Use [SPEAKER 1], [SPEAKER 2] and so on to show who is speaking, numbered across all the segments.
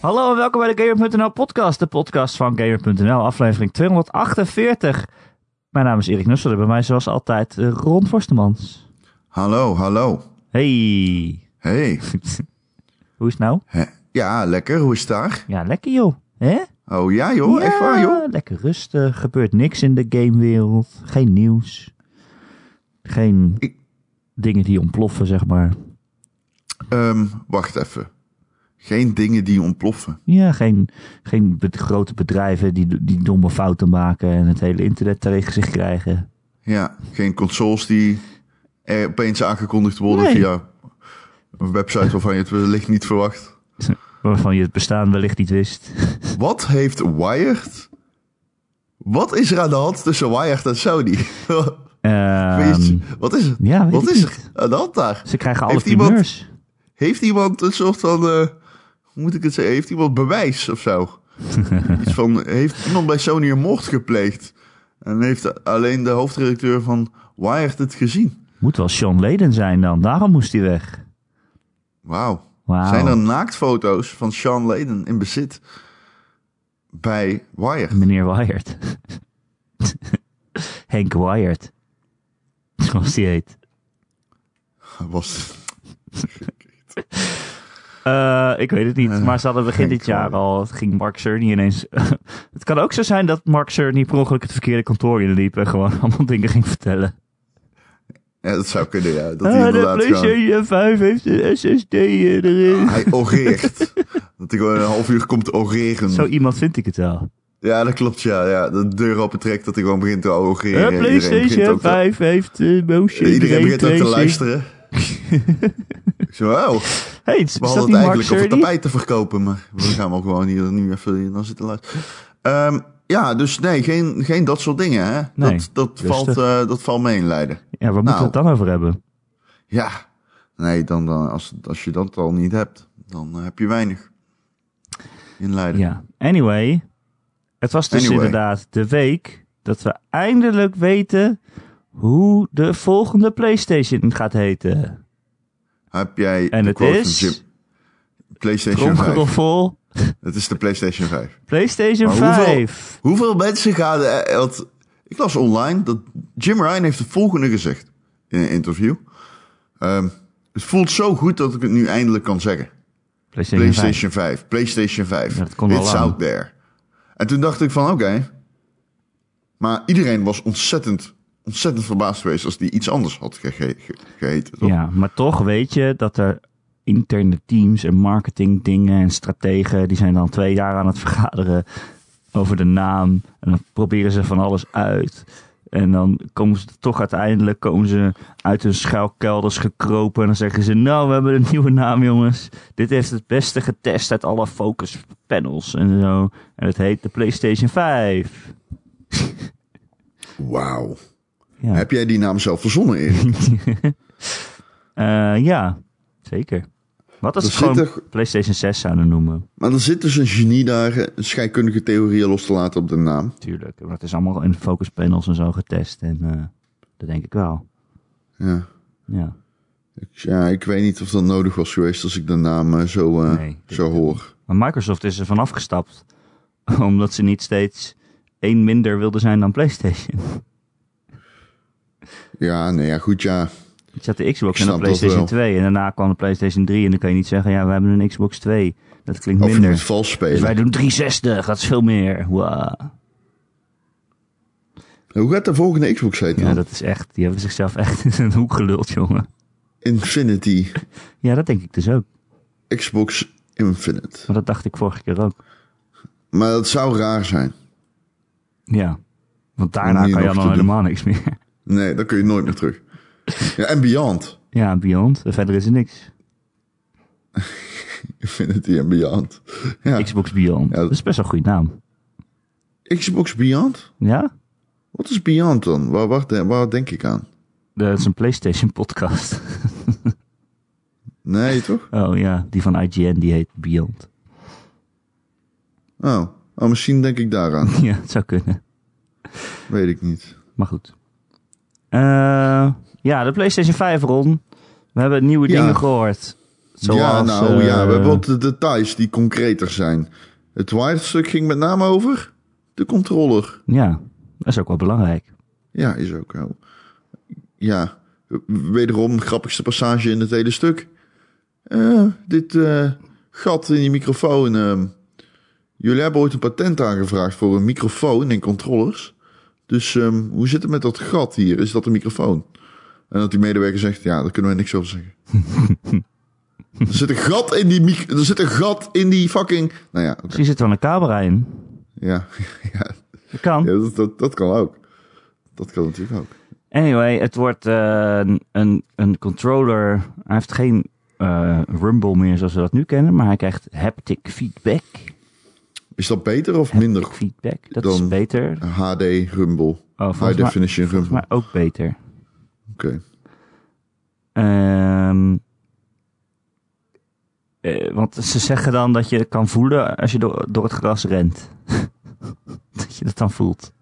[SPEAKER 1] Hallo en welkom bij de Gamer.nl podcast, de podcast van Gamer.nl, aflevering 248. Mijn naam is Erik Nusselder, bij mij zoals altijd eh, Ron Forstemans.
[SPEAKER 2] Hallo, hallo.
[SPEAKER 1] Hey,
[SPEAKER 2] Hey.
[SPEAKER 1] hoe is het nou?
[SPEAKER 2] Hè? Ja, lekker. Hoe is het daar?
[SPEAKER 1] Ja, lekker joh. Hè?
[SPEAKER 2] Oh ja, joh.
[SPEAKER 1] Ja,
[SPEAKER 2] Echt waar, joh.
[SPEAKER 1] Lekker rustig, gebeurt niks in de gamewereld, geen nieuws, geen
[SPEAKER 2] Ik-
[SPEAKER 1] dingen die ontploffen zeg maar.
[SPEAKER 2] Ehm, wacht even. Geen dingen die ontploffen.
[SPEAKER 1] Ja, geen, geen be- grote bedrijven die, die domme fouten maken en het hele internet tegen zich krijgen.
[SPEAKER 2] Ja, geen consoles die er opeens aangekondigd worden
[SPEAKER 1] Nee.
[SPEAKER 2] via een website waarvan je het wellicht niet verwacht.
[SPEAKER 1] Waarvan je het bestaan wellicht niet wist.
[SPEAKER 2] Wat heeft Wired? Wat is er aan de hand tussen Wired en Sony?
[SPEAKER 1] Ehm,
[SPEAKER 2] wat is,
[SPEAKER 1] ja, weet
[SPEAKER 2] wat
[SPEAKER 1] ik
[SPEAKER 2] is
[SPEAKER 1] niet.
[SPEAKER 2] er aan de hand daar?
[SPEAKER 1] Ze krijgen alle
[SPEAKER 2] Heeft iemand-
[SPEAKER 1] primeurs.
[SPEAKER 2] Heeft iemand een soort van, eh, hoe moet ik het zeggen, heeft iemand bewijs of zo? Iets van, heeft iemand bij Sony een moord gepleegd? En heeft alleen de hoofdredacteur van Wired het gezien?
[SPEAKER 1] Moet wel Sean Leden zijn dan. Daarom moest hij weg.
[SPEAKER 2] Wauw.
[SPEAKER 1] Wauw.
[SPEAKER 2] Zijn er naaktfoto's van Sean Layden in bezit bij Wired?
[SPEAKER 1] Meneer Wired. Henk Wired. Zoals die heet.
[SPEAKER 2] Was...
[SPEAKER 1] Eh, ik weet het niet. Maar ze hadden begin
[SPEAKER 2] Henk
[SPEAKER 1] dit jaar
[SPEAKER 2] Wired.
[SPEAKER 1] al. Het ging Mark Cerny ineens. het kan ook zo zijn dat Mark Cerny per ongeluk het verkeerde kantoor inliep. En gewoon allemaal dingen ging vertellen.
[SPEAKER 2] Ja, dat zou kunnen, ja. Dat hij
[SPEAKER 1] Ah, de
[SPEAKER 2] inderdaad gewoon... Ah.
[SPEAKER 1] PlayStation 5 heeft een SSD erin.
[SPEAKER 2] Hij oreert. dat hij gewoon een half uur komt oreren.
[SPEAKER 1] Zo iemand vind ik het wel.
[SPEAKER 2] Ja, dat klopt, ja. ja. De deur opentrekt, dat hij gewoon begint te oreren.
[SPEAKER 1] Ja,
[SPEAKER 2] Iedereen begint
[SPEAKER 1] PlayStation
[SPEAKER 2] ook te-
[SPEAKER 1] 5 heeft eh, motion.
[SPEAKER 2] Iedereen begint ook te
[SPEAKER 1] tracing.
[SPEAKER 2] luisteren. Ik Zo, wow.
[SPEAKER 1] Hey, is, is
[SPEAKER 2] We
[SPEAKER 1] dat
[SPEAKER 2] hadden
[SPEAKER 1] niet
[SPEAKER 2] het
[SPEAKER 1] Mark
[SPEAKER 2] eigenlijk over
[SPEAKER 1] Cerny?
[SPEAKER 2] tapijt te verkopen, maar we gaan ook gewoon hier niet meer even naar zitten luisteren. Ehm, ja, dus nee, geen, geen dat soort dingen. Hè?
[SPEAKER 1] Nee,
[SPEAKER 2] dat, dat,
[SPEAKER 1] rustig.
[SPEAKER 2] valt, eh, dat valt mee in Leiden.
[SPEAKER 1] Ja, waar moeten we
[SPEAKER 2] Nou.
[SPEAKER 1] het dan over hebben?
[SPEAKER 2] Ja, nee, dan, dan, als, als je dat al niet hebt, dan eh, heb je weinig in Leiden.
[SPEAKER 1] Ja, anyway. Het was dus
[SPEAKER 2] Anyway.
[SPEAKER 1] inderdaad de week dat we eindelijk weten hoe de volgende PlayStation gaat heten.
[SPEAKER 2] Heb jij
[SPEAKER 1] En
[SPEAKER 2] de
[SPEAKER 1] het
[SPEAKER 2] quote van
[SPEAKER 1] is,
[SPEAKER 2] Jim- PlayStation 5.
[SPEAKER 1] tromgeroffel,
[SPEAKER 2] Het is de PlayStation 5.
[SPEAKER 1] PlayStation
[SPEAKER 2] Maar hoeveel-
[SPEAKER 1] 5.
[SPEAKER 2] Hoeveel mensen gaan... eh, want ik las online dat Jim Ryan heeft het volgende gezegd in een interview. Ehm, het voelt zo goed dat ik het nu eindelijk kan zeggen.
[SPEAKER 1] PlayStation 5.
[SPEAKER 2] PlayStation 5, PlayStation 5.
[SPEAKER 1] Ja, dat kon al
[SPEAKER 2] It's
[SPEAKER 1] lang.
[SPEAKER 2] out there. En toen dacht ik van oké. Maar iedereen was ontzettend, ontzettend verbaasd geweest als die iets anders had ge- ge- ge- geheten. toch?
[SPEAKER 1] Ja, maar toch weet je dat er interne teams en marketingdingen en strategen, die zijn dan twee jaar aan het vergaderen over de naam. En dan proberen ze van alles uit. En dan komen ze toch uiteindelijk komen ze uit hun schuilkelders gekropen. En dan zeggen ze, nou, we hebben een nieuwe naam, jongens. Dit heeft het beste getest uit alle focus panels en zo. En het heet de PlayStation 5.
[SPEAKER 2] Wauw.
[SPEAKER 1] Ja,
[SPEAKER 2] Heb jij die naam zelf verzonnen, Erik?
[SPEAKER 1] Eh, ja zeker. Wat als
[SPEAKER 2] Er
[SPEAKER 1] ze het gewoon
[SPEAKER 2] zit er-
[SPEAKER 1] PlayStation 6 zouden noemen?
[SPEAKER 2] maar er zit dus een genie daar eh, scheikundige theorieën los te laten op de naam.
[SPEAKER 1] Tuurlijk, maar het is allemaal in focus panels en zo getest. En eh, dat denk ik wel.
[SPEAKER 2] Ja.
[SPEAKER 1] Ja.
[SPEAKER 2] Ik- Dus Ja, ik weet niet of dat nodig was geweest als ik de naam eh, zo, eh,
[SPEAKER 1] Nee, dit-
[SPEAKER 2] zo hoor.
[SPEAKER 1] Maar Microsoft is er van afgestapt. Omdat ze niet steeds één minder wilde zijn dan PlayStation.
[SPEAKER 2] Ja, nee, ja, goed, ja.
[SPEAKER 1] Je had de Xbox
[SPEAKER 2] Ik
[SPEAKER 1] en de
[SPEAKER 2] snap dat
[SPEAKER 1] PlayStation
[SPEAKER 2] wel.
[SPEAKER 1] 2. En daarna kwam de PlayStation 3. En dan kan je niet zeggen, ja, we hebben een Xbox 2. Dat klinkt
[SPEAKER 2] Of je moet
[SPEAKER 1] minder.
[SPEAKER 2] vals
[SPEAKER 1] Dus wij
[SPEAKER 2] spelen.
[SPEAKER 1] doen 360, dat is veel meer. Wow.
[SPEAKER 2] Hoe gaat de volgende Xbox heten?
[SPEAKER 1] Ja,
[SPEAKER 2] dan?
[SPEAKER 1] dat is echt. Die hebben zichzelf echt in een hoek geluld, jongen.
[SPEAKER 2] Infinity.
[SPEAKER 1] Ja, dat denk ik dus ook.
[SPEAKER 2] Xbox Infinite.
[SPEAKER 1] Maar dat dacht ik vorige keer ook.
[SPEAKER 2] Maar dat zou raar zijn.
[SPEAKER 1] Ja. Want daarna
[SPEAKER 2] Om hier
[SPEAKER 1] kan je
[SPEAKER 2] nog te
[SPEAKER 1] dan
[SPEAKER 2] doen.
[SPEAKER 1] helemaal niks meer.
[SPEAKER 2] Nee, dan kun je nooit meer terug. Ja, en Beyond.
[SPEAKER 1] Ja, Beyond. Verder is er niks.
[SPEAKER 2] Infinity en Beyond. Ja.
[SPEAKER 1] Xbox Beyond.
[SPEAKER 2] Ja,
[SPEAKER 1] dat...
[SPEAKER 2] dat-
[SPEAKER 1] is best wel een goede naam.
[SPEAKER 2] Xbox Beyond?
[SPEAKER 1] Ja?
[SPEAKER 2] Wat is Beyond dan? Waar, waar, de- waar denk ik aan?
[SPEAKER 1] Dat is een PlayStation podcast.
[SPEAKER 2] Nee, toch?
[SPEAKER 1] Oh ja, die van IGN die heet Beyond.
[SPEAKER 2] Oh. oh, misschien denk ik daaraan.
[SPEAKER 1] Ja, het zou kunnen.
[SPEAKER 2] Weet ik niet.
[SPEAKER 1] Maar goed. Eh, ja, de PlayStation 5 Ron. We hebben nieuwe
[SPEAKER 2] Ja.
[SPEAKER 1] dingen gehoord. Zoals,
[SPEAKER 2] ja, nou
[SPEAKER 1] eh,
[SPEAKER 2] ja, we hebben wat de details die concreter zijn. Het Twilight-stuk ging met name over de controller.
[SPEAKER 1] Ja, dat is ook wel belangrijk.
[SPEAKER 2] Ja, is ook wel. Ja, wederom grappigste passage in het hele stuk. Eh, dit eh, gat in die microfoon. ehm, jullie hebben ooit een patent aangevraagd voor een microfoon en controllers. Dus ehm, hoe zit het met dat gat hier? Is dat een microfoon? En dat die medewerker zegt, ja, daar kunnen wij niks over zeggen. er zit een gat in die mic- er zit een gat in die fucking... Nou ja, oké.
[SPEAKER 1] Misschien zit er wel een camera in.
[SPEAKER 2] ja, ja,
[SPEAKER 1] Dat kan.
[SPEAKER 2] ja dat, dat, dat kan ook. Dat kan natuurlijk ook.
[SPEAKER 1] Anyway, het wordt eh, een- een, een controller. Hij heeft geen eh, rumble meer zoals we dat nu kennen, maar hij krijgt haptic feedback.
[SPEAKER 2] Is dat beter of
[SPEAKER 1] Haptic
[SPEAKER 2] minder
[SPEAKER 1] feedback, dat
[SPEAKER 2] dan-
[SPEAKER 1] is beter.
[SPEAKER 2] HD Rumble.
[SPEAKER 1] Oh,
[SPEAKER 2] High
[SPEAKER 1] volgens mij,
[SPEAKER 2] definition Rumble.
[SPEAKER 1] maar ook beter.
[SPEAKER 2] Oké.
[SPEAKER 1] Ehm, eh, want ze zeggen dan dat je het kan voelen als je door, door het gras rent. dat je dat dan voelt.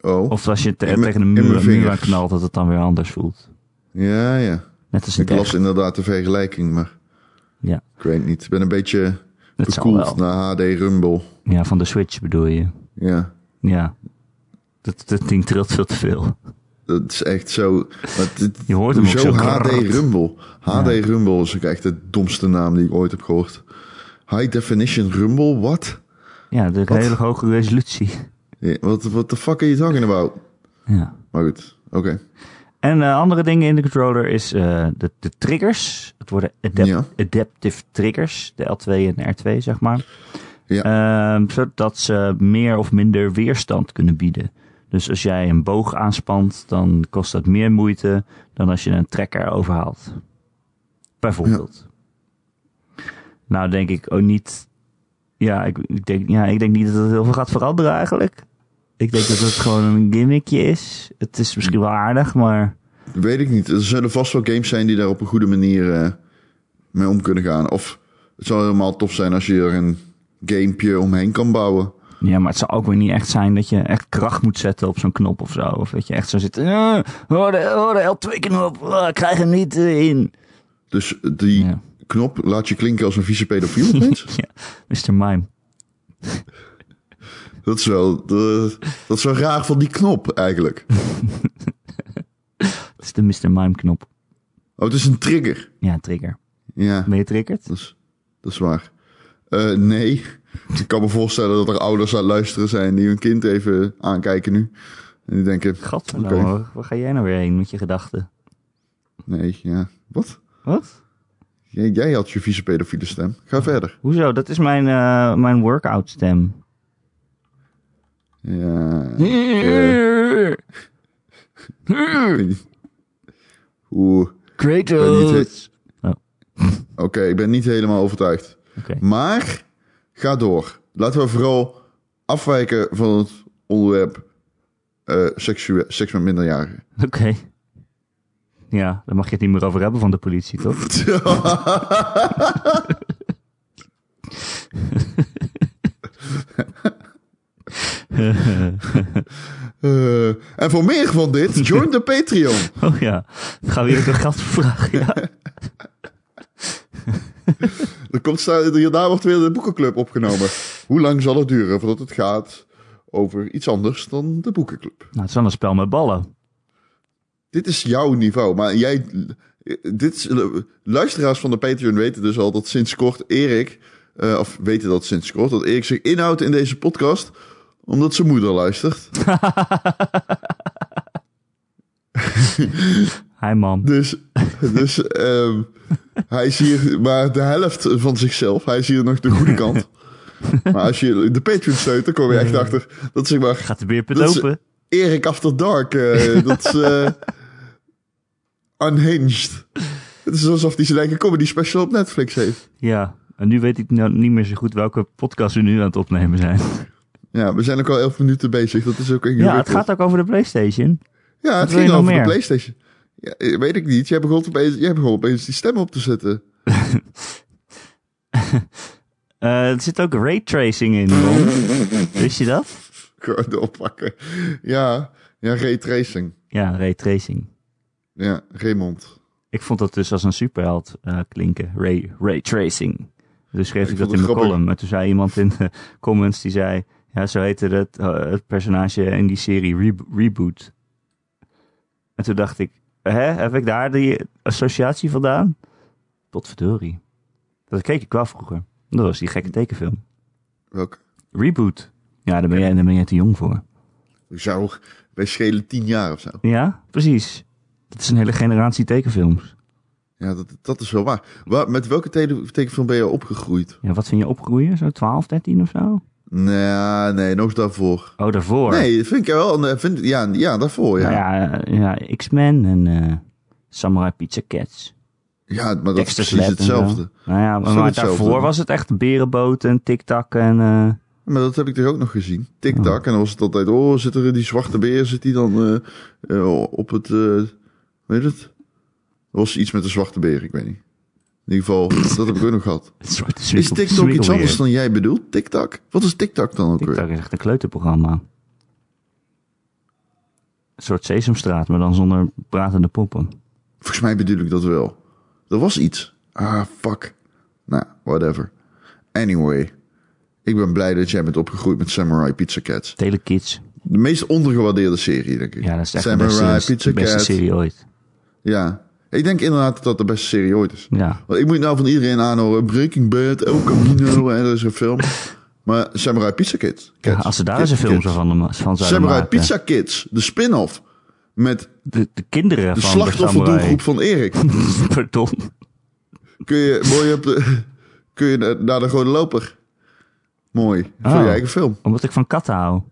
[SPEAKER 2] Oh.
[SPEAKER 1] Of als je te-
[SPEAKER 2] In mijn-
[SPEAKER 1] tegen een
[SPEAKER 2] in mijn
[SPEAKER 1] muur, een muur aan
[SPEAKER 2] vingers.
[SPEAKER 1] knalt, dat het dan weer anders voelt.
[SPEAKER 2] Ja, ja.
[SPEAKER 1] Net als een
[SPEAKER 2] Ik las
[SPEAKER 1] echt.
[SPEAKER 2] inderdaad de vergelijking, maar
[SPEAKER 1] Ja,
[SPEAKER 2] ik weet niet. Ik ben een beetje
[SPEAKER 1] dat zal
[SPEAKER 2] bekoeld
[SPEAKER 1] wel.
[SPEAKER 2] naar HD Rumble.
[SPEAKER 1] Ja, van de Switch bedoel je.
[SPEAKER 2] Ja.
[SPEAKER 1] Ja. Dat, dat ding trilt veel te veel.
[SPEAKER 2] Dat is echt zo. Maar dit,
[SPEAKER 1] Je hoort hem ook
[SPEAKER 2] hoezo
[SPEAKER 1] zo.
[SPEAKER 2] HD
[SPEAKER 1] Grrrt.
[SPEAKER 2] Rumble. HD Rumble is ook echt de domste naam die ik ooit heb gehoord. High definition Rumble, wat?
[SPEAKER 1] Ja, de hele hoge resolutie.
[SPEAKER 2] Ja, Wat what the fuck are you talking about?
[SPEAKER 1] Ja.
[SPEAKER 2] Maar goed, oké.
[SPEAKER 1] En eh, andere dingen in de controller is eh, de, de triggers. Het worden adap-
[SPEAKER 2] Ja.
[SPEAKER 1] adaptive triggers. De L2 en R2, zeg maar.
[SPEAKER 2] Ja.
[SPEAKER 1] Ehm, zodat ze meer of minder weerstand kunnen bieden. Dus als jij een boog aanspant, dan kost dat meer moeite dan als je een trekker overhaalt. Bijvoorbeeld. Nou, denk ik ook niet. Ja ik, ik denk, ja, ik denk niet dat het heel veel gaat veranderen eigenlijk. Ik denk dat het gewoon een gimmickje is. Het is misschien wel aardig, maar.
[SPEAKER 2] Weet ik niet. Er zullen vast wel games zijn die daar op een goede manier eh, mee om kunnen gaan. Of het zou helemaal tof zijn als je er een gamepje omheen kan bouwen.
[SPEAKER 1] Ja, maar het zou ook weer niet echt zijn dat je echt kracht moet zetten op zo'n knop of zo. Of dat je echt zo zit. eh, Oh, de, oh, de L2-knop. Oh, ik krijg hem niet eh, in.
[SPEAKER 2] Dus die
[SPEAKER 1] Ja.
[SPEAKER 2] knop laat je klinken als een vieze pedofiel opeens.
[SPEAKER 1] Ja, Mr. Mime.
[SPEAKER 2] dat, is wel, de- dat is wel raar van die knop eigenlijk.
[SPEAKER 1] Dat is de Mr. Mime-knop.
[SPEAKER 2] Oh, het is een trigger.
[SPEAKER 1] Ja, trigger.
[SPEAKER 2] Ja,
[SPEAKER 1] Ben je triggerd?
[SPEAKER 2] dat is, dat is waar. Eh, nee, ik kan me voorstellen dat er ouders aan het luisteren zijn die hun kind even aankijken nu. En die denken,
[SPEAKER 1] Gadverdamme,
[SPEAKER 2] Oké.
[SPEAKER 1] waar- waar ga jij nou weer heen met je gedachten?
[SPEAKER 2] nee, ja, wat?
[SPEAKER 1] Wat?
[SPEAKER 2] Jij, jij had je vieze pedofiele stem. Ga verder.
[SPEAKER 1] Hoezo? Dat is mijn, eh, mijn workout-stem.
[SPEAKER 2] Ja.
[SPEAKER 1] Hm?
[SPEAKER 2] eh, ik weet niet. Oeh. Ik ben niet
[SPEAKER 1] Kratos!
[SPEAKER 2] he-
[SPEAKER 1] Oh.
[SPEAKER 2] Oké, ik ben niet helemaal overtuigd.
[SPEAKER 1] Oké.
[SPEAKER 2] Maar ga door. Laten we vooral afwijken van het onderwerp eh seksu- seks met minderjarigen.
[SPEAKER 1] Oké. Ja, daar mag je het niet meer over hebben van de politie, toch?
[SPEAKER 2] Eh, en voor meer van dit, join de Patreon.
[SPEAKER 1] Oh ja, ik ga weer een geld vragen. Ja.
[SPEAKER 2] Er komt, sta- hierna wordt weer de boekenclub opgenomen. Hoe lang zal het duren voordat het gaat over iets anders dan de boekenclub?
[SPEAKER 1] Nou, het is wel een spel met ballen.
[SPEAKER 2] Dit is jouw niveau, maar jij... Dit is, luisteraars van de Patreon weten dus al dat sinds kort Erik... eh, of weten dat sinds kort, dat Erik zich inhoudt in deze podcast... omdat zijn moeder luistert.
[SPEAKER 1] Hi, man.
[SPEAKER 2] Dus, dus ehm, hij is hier maar de helft van zichzelf. Hij is hier nog de goede kant. Maar als je de Patreon steunt, dan kom je echt achter... dat zeg maar
[SPEAKER 1] Gaat de beerput
[SPEAKER 2] Dat is-
[SPEAKER 1] open?
[SPEAKER 2] Erik After Dark. eh, dat is eh, unhinged. Het is alsof hij zijn eigen comedy special op Netflix heeft.
[SPEAKER 1] Ja, en nu weet ik nou niet meer zo goed welke podcast we nu aan het opnemen zijn.
[SPEAKER 2] Ja, we zijn ook al 11 minuten bezig. Dat is ook
[SPEAKER 1] Ja, het
[SPEAKER 2] ingewikkeld.
[SPEAKER 1] gaat ook over de Playstation.
[SPEAKER 2] ja,
[SPEAKER 1] wat
[SPEAKER 2] het
[SPEAKER 1] wil je
[SPEAKER 2] ging
[SPEAKER 1] nog
[SPEAKER 2] over de
[SPEAKER 1] meer?
[SPEAKER 2] PlayStation. Ja, eh, weet ik niet. Jij begon, opeens, jij begon opeens die stem op te zetten.
[SPEAKER 1] Eh, er zit ook raytracing in, Ron. Wist je dat?
[SPEAKER 2] Gewoon oppakken. Ja, ja, Ray Tracing.
[SPEAKER 1] Ja, raytracing.
[SPEAKER 2] Ja, Raymond.
[SPEAKER 1] Ik Ik vond dat dus als een superheld eh, klinken. Ray, ray tracing. Dus schreef
[SPEAKER 2] Ik
[SPEAKER 1] ik, dat in
[SPEAKER 2] vond
[SPEAKER 1] mijn
[SPEAKER 2] het grappig.
[SPEAKER 1] column. En toen zei iemand in de comments, die zei... Ja, zo heette het, eh, het personage in die serie Re- Reboot. En toen dacht ik, hè, heb ik daar die associatie vandaan? Potverdorie. Dat keek ik wel vroeger. Dat was die gekke tekenfilm.
[SPEAKER 2] Welk?
[SPEAKER 1] Reboot. Ja, daar ben jij, daar ben jij te jong voor.
[SPEAKER 2] Zou wij schelen tien jaar of zo.
[SPEAKER 1] Ja, precies. Dat is een hele generatie tekenfilms.
[SPEAKER 2] Ja, dat, dat is wel waar. Wa- met welke tele- tekenfilm ben je opgegroeid?
[SPEAKER 1] Ja, wat vind je opgroeien? Zo 12, 13 of zo?
[SPEAKER 2] Nee, Nou, nee, nog daarvoor.
[SPEAKER 1] Oh, daarvoor.
[SPEAKER 2] Nee, vind ik wel. een- eh, Vind, ja, ja, daarvoor. Ja,
[SPEAKER 1] Nou ja, eh, ja, X-Men en eh, Samurai Pizza Cats.
[SPEAKER 2] ja maar dat is
[SPEAKER 1] Dexter's
[SPEAKER 2] precies
[SPEAKER 1] Lab en zo.
[SPEAKER 2] hetzelfde.
[SPEAKER 1] Nou ja, maar,
[SPEAKER 2] Zo
[SPEAKER 1] maar
[SPEAKER 2] hetzelfde.
[SPEAKER 1] daarvoor was het echt berenboot en tik-tak en... eh,
[SPEAKER 2] Maar dat heb ik dus ook nog gezien. Tik-tak. En dan was het altijd, oh, zit er die zwarte beer, zit die dan eh, eh, op het, eh, weet het? Er was iets met de zwarte beer, ik weet niet. In ieder geval, dat heb ik ook nog gehad.
[SPEAKER 1] het soort
[SPEAKER 2] Is
[SPEAKER 1] zwikkel-
[SPEAKER 2] TikTok iets
[SPEAKER 1] zwikkelbeer.
[SPEAKER 2] anders dan jij bedoelt? TikTok? Wat is TikTok dan ook weer?
[SPEAKER 1] TikTok is echt een kleuterprogramma. Een soort Sesamstraat, maar dan zonder pratende poppen.
[SPEAKER 2] Volgens mij bedoel ik dat wel. Er was iets. Ah, fuck. Nou, whatever. Anyway. Ik ben blij dat jij bent opgegroeid met Samurai Pizza Cats.
[SPEAKER 1] Telekids.
[SPEAKER 2] De meest ondergewaardeerde serie, denk ik.
[SPEAKER 1] Ja, dat is echt
[SPEAKER 2] Samurai
[SPEAKER 1] de beste,
[SPEAKER 2] Pizza
[SPEAKER 1] de beste
[SPEAKER 2] Cat.
[SPEAKER 1] serie ooit.
[SPEAKER 2] Ja. Ik denk inderdaad dat dat de beste serie ooit is.
[SPEAKER 1] Ja.
[SPEAKER 2] Want ik moet nou van iedereen aanhoren. Breaking Bad, El Camino, en er is een film. Maar Samurai Pizza Kids.
[SPEAKER 1] Ja,
[SPEAKER 2] Kids,
[SPEAKER 1] als ze daar
[SPEAKER 2] Kids,
[SPEAKER 1] eens een film
[SPEAKER 2] Kids.
[SPEAKER 1] zo van, de ma- van zouden
[SPEAKER 2] Samurai
[SPEAKER 1] maken.
[SPEAKER 2] Pizza Kids, de spin-off. Met
[SPEAKER 1] De, de kinderen
[SPEAKER 2] de
[SPEAKER 1] van de
[SPEAKER 2] slachtofferdoelgroep van Erik.
[SPEAKER 1] samurai. Pardon.
[SPEAKER 2] Kun je, mooi op de, kun je naar- naar de Rode Loper. Mooi. Voor
[SPEAKER 1] Oh.
[SPEAKER 2] je eigen film.
[SPEAKER 1] Omdat ik van katten hou.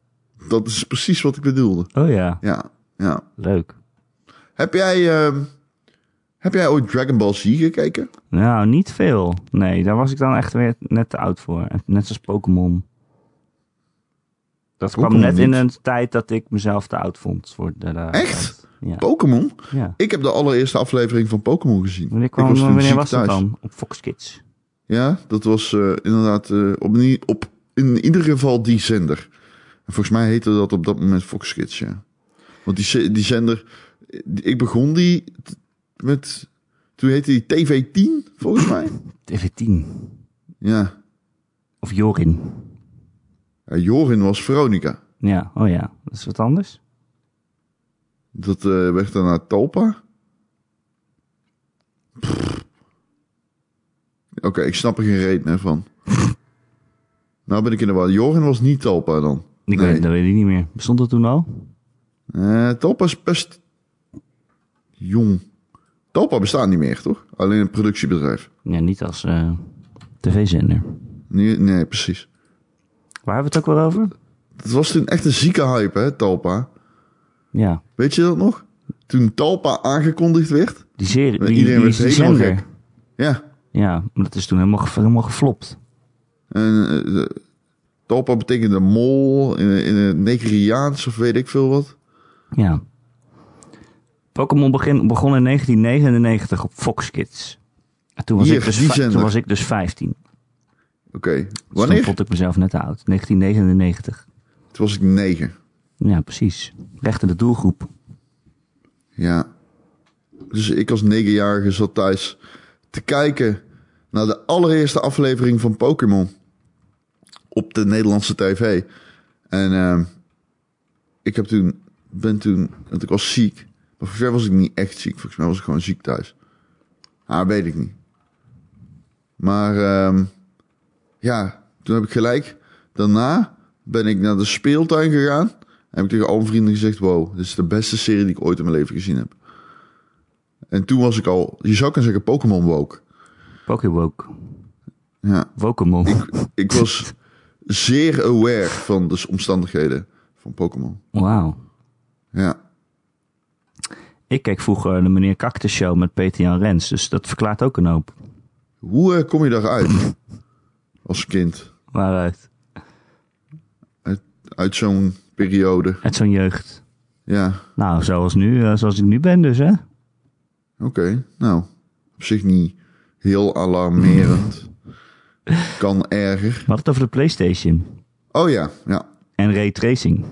[SPEAKER 2] Dat is precies wat ik bedoelde.
[SPEAKER 1] Oh ja,
[SPEAKER 2] Ja, ja.
[SPEAKER 1] leuk.
[SPEAKER 2] Heb jij, ehm, heb jij ooit Dragon Ball Z gekeken?
[SPEAKER 1] Nou, niet veel. Nee, daar was ik dan echt weer net te oud voor. En Net zoals Pokémon. Dat kwam
[SPEAKER 2] Pokémon
[SPEAKER 1] net in
[SPEAKER 2] niet.
[SPEAKER 1] een tijd dat ik mezelf te oud vond. Voor de, de-
[SPEAKER 2] Echt?
[SPEAKER 1] Ja.
[SPEAKER 2] Pokémon?
[SPEAKER 1] ja.
[SPEAKER 2] Ik heb de allereerste aflevering van Pokémon gezien.
[SPEAKER 1] Wanneer, kwam,
[SPEAKER 2] was toen
[SPEAKER 1] wanneer
[SPEAKER 2] ziek
[SPEAKER 1] was dat
[SPEAKER 2] thuis.
[SPEAKER 1] dan? Op Fox Kids.
[SPEAKER 2] Ja, dat was eh, inderdaad eh, op, nie- op, in ieder geval die zender. En volgens mij heette dat op dat moment Fox Kids, ja. Want die, ze- die zender, eh, die- ik begon die t- met, toen heette die TV10, volgens mij.
[SPEAKER 1] TV10.
[SPEAKER 2] Ja.
[SPEAKER 1] Of Jorin.
[SPEAKER 2] Ja, Jorin was Veronica.
[SPEAKER 1] Ja, oh ja. Dat is wat anders.
[SPEAKER 2] Dat eh, werd daarna Talpa. Pff. Oké, ik snap er geen reet meer van. nou ben ik in de war. Jorin was niet Talpa dan.
[SPEAKER 1] Ik
[SPEAKER 2] Nee.
[SPEAKER 1] weet, dat weet ik niet meer. Bestond dat toen al?
[SPEAKER 2] Eh, Talpa is best jong. Talpa bestaat niet meer, toch? Alleen een productiebedrijf.
[SPEAKER 1] Ja, niet als eh, tv-zender.
[SPEAKER 2] Nee, nee, precies.
[SPEAKER 1] Waar hebben we het ook wel over?
[SPEAKER 2] Het was toen echt een zieke hype, hè, Talpa.
[SPEAKER 1] Ja,
[SPEAKER 2] Weet je dat nog? Toen Talpa aangekondigd werd.
[SPEAKER 1] die serie,
[SPEAKER 2] Maar
[SPEAKER 1] die,
[SPEAKER 2] iedereen
[SPEAKER 1] die,
[SPEAKER 2] werd
[SPEAKER 1] die
[SPEAKER 2] helemaal
[SPEAKER 1] zender.
[SPEAKER 2] gek. Ja.
[SPEAKER 1] Ja, maar dat is toen helemaal, ge- helemaal geflopt.
[SPEAKER 2] En, eh, de- Talpa betekende mol in, in het Nigeriaans of weet ik veel wat.
[SPEAKER 1] Ja. Pokémon begin, begon in 1999 op Fox Kids. En toen was,
[SPEAKER 2] Hier,
[SPEAKER 1] ik, dus
[SPEAKER 2] die
[SPEAKER 1] vij-
[SPEAKER 2] zender.
[SPEAKER 1] toen was ik dus 15.
[SPEAKER 2] Oké,
[SPEAKER 1] Dus toen
[SPEAKER 2] wanneer?
[SPEAKER 1] vond ik mezelf net te oud. 1999.
[SPEAKER 2] Toen was ik negen.
[SPEAKER 1] Ja, precies. Recht in de doelgroep.
[SPEAKER 2] Ja. Dus ik als negenjarige zat thuis te kijken naar de allereerste aflevering van Pokémon op de Nederlandse tv. En ehm, ik heb toen, ben toen, want ik was ziek. Maar volgens mij was ik niet echt ziek. Volgens mij was ik gewoon ziek thuis. Ah, weet ik niet. Maar ehm, ja, toen heb ik gelijk. Daarna ben ik naar de speeltuin gegaan. En heb ik tegen al mijn vrienden gezegd: Wow, dit is de beste serie die ik ooit in mijn leven gezien heb. En toen was ik al, je zou kunnen zeggen, Pokémon woke.
[SPEAKER 1] Pokéwoke.
[SPEAKER 2] Ja,
[SPEAKER 1] Pokémon.
[SPEAKER 2] ik was zeer aware van de omstandigheden van Pokémon.
[SPEAKER 1] Wauw.
[SPEAKER 2] Ja,
[SPEAKER 1] Ik keek vroeger de meneer Cactus Show met Peter Jan Rens. Dus dat verklaart ook een hoop.
[SPEAKER 2] hoe eh, kom je daaruit als kind?
[SPEAKER 1] Waaruit?
[SPEAKER 2] Uit zo'n periode.
[SPEAKER 1] Uit zo'n jeugd.
[SPEAKER 2] Ja,
[SPEAKER 1] Nou, zoals nu, eh, zoals ik nu ben dus, hè?
[SPEAKER 2] oké. Nou, op zich niet heel alarmerend. Kan erger.
[SPEAKER 1] We hadden het over de PlayStation
[SPEAKER 2] Oh ja, ja.
[SPEAKER 1] en raytracing.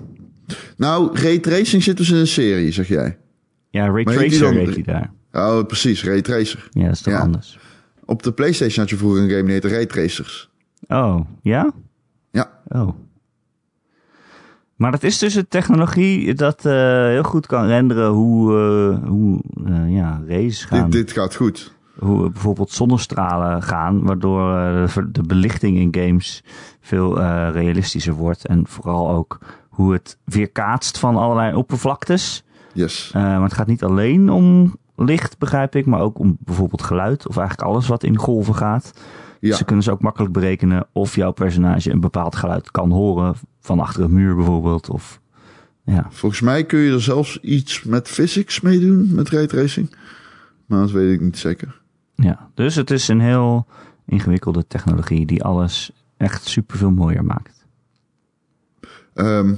[SPEAKER 2] Nou, raytracing zit dus in een serie, zeg jij.
[SPEAKER 1] Ja,
[SPEAKER 2] heet die
[SPEAKER 1] raytracer
[SPEAKER 2] dan-
[SPEAKER 1] heet die daar.
[SPEAKER 2] Ja, precies, Raytracer.
[SPEAKER 1] Ja, dat is toch
[SPEAKER 2] Ja.
[SPEAKER 1] anders.
[SPEAKER 2] Op de PlayStation had je vroeger een game die heette Raytracers.
[SPEAKER 1] Oh, ja?
[SPEAKER 2] Ja.
[SPEAKER 1] Oh. Maar dat is dus een technologie dat eh, heel goed kan renderen hoe, eh, hoe eh, ja, races gaan.
[SPEAKER 2] Dit, dit gaat goed.
[SPEAKER 1] Hoe bijvoorbeeld zonnestralen gaan, waardoor eh, de ver- de belichting in games veel eh, realistischer wordt. En vooral ook hoe het weerkaatst van allerlei oppervlaktes.
[SPEAKER 2] Yes.
[SPEAKER 1] Eh, maar het gaat niet alleen om licht, begrijp ik, maar ook om bijvoorbeeld geluid of eigenlijk alles wat in golven gaat.
[SPEAKER 2] Ja.
[SPEAKER 1] Ze kunnen ze ook makkelijk berekenen of jouw personage een bepaald geluid kan horen. Van achter een muur bijvoorbeeld. Of, ja.
[SPEAKER 2] Volgens mij kun je er zelfs iets met physics mee doen, met raytracing. Maar dat weet ik niet zeker.
[SPEAKER 1] Ja. Dus het is een heel ingewikkelde technologie die alles echt superveel mooier maakt.
[SPEAKER 2] Ehm,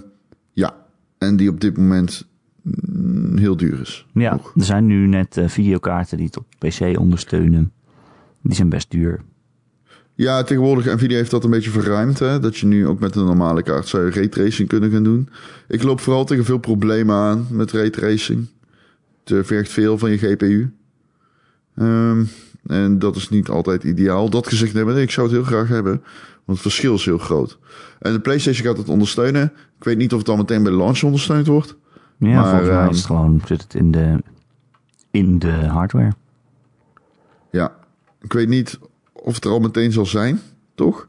[SPEAKER 2] ja, en die op dit moment mm, heel duur is.
[SPEAKER 1] Ja,
[SPEAKER 2] Nog.
[SPEAKER 1] er zijn nu net eh, videokaarten die het op PC ondersteunen. Die zijn best duur.
[SPEAKER 2] Ja, tegenwoordig, Nvidia heeft dat een beetje verruimd. Hè? Dat je nu ook met een normale kaart zou je raytracing kunnen gaan doen. Ik loop vooral tegen veel problemen aan met raytracing. Het eh, vergt veel van je GPU. Ehm, en dat is niet altijd ideaal. Dat gezegd hebben, ik zou het heel graag hebben. Want het verschil is heel groot. En de PlayStation gaat het ondersteunen. Ik weet niet of het dan meteen bij de launch ondersteund wordt.
[SPEAKER 1] Ja,
[SPEAKER 2] Maar,
[SPEAKER 1] volgens mij
[SPEAKER 2] ehm,
[SPEAKER 1] is het gewoon, zit het in de, in de hardware.
[SPEAKER 2] Ja, ik weet niet of het er al meteen zal zijn, toch?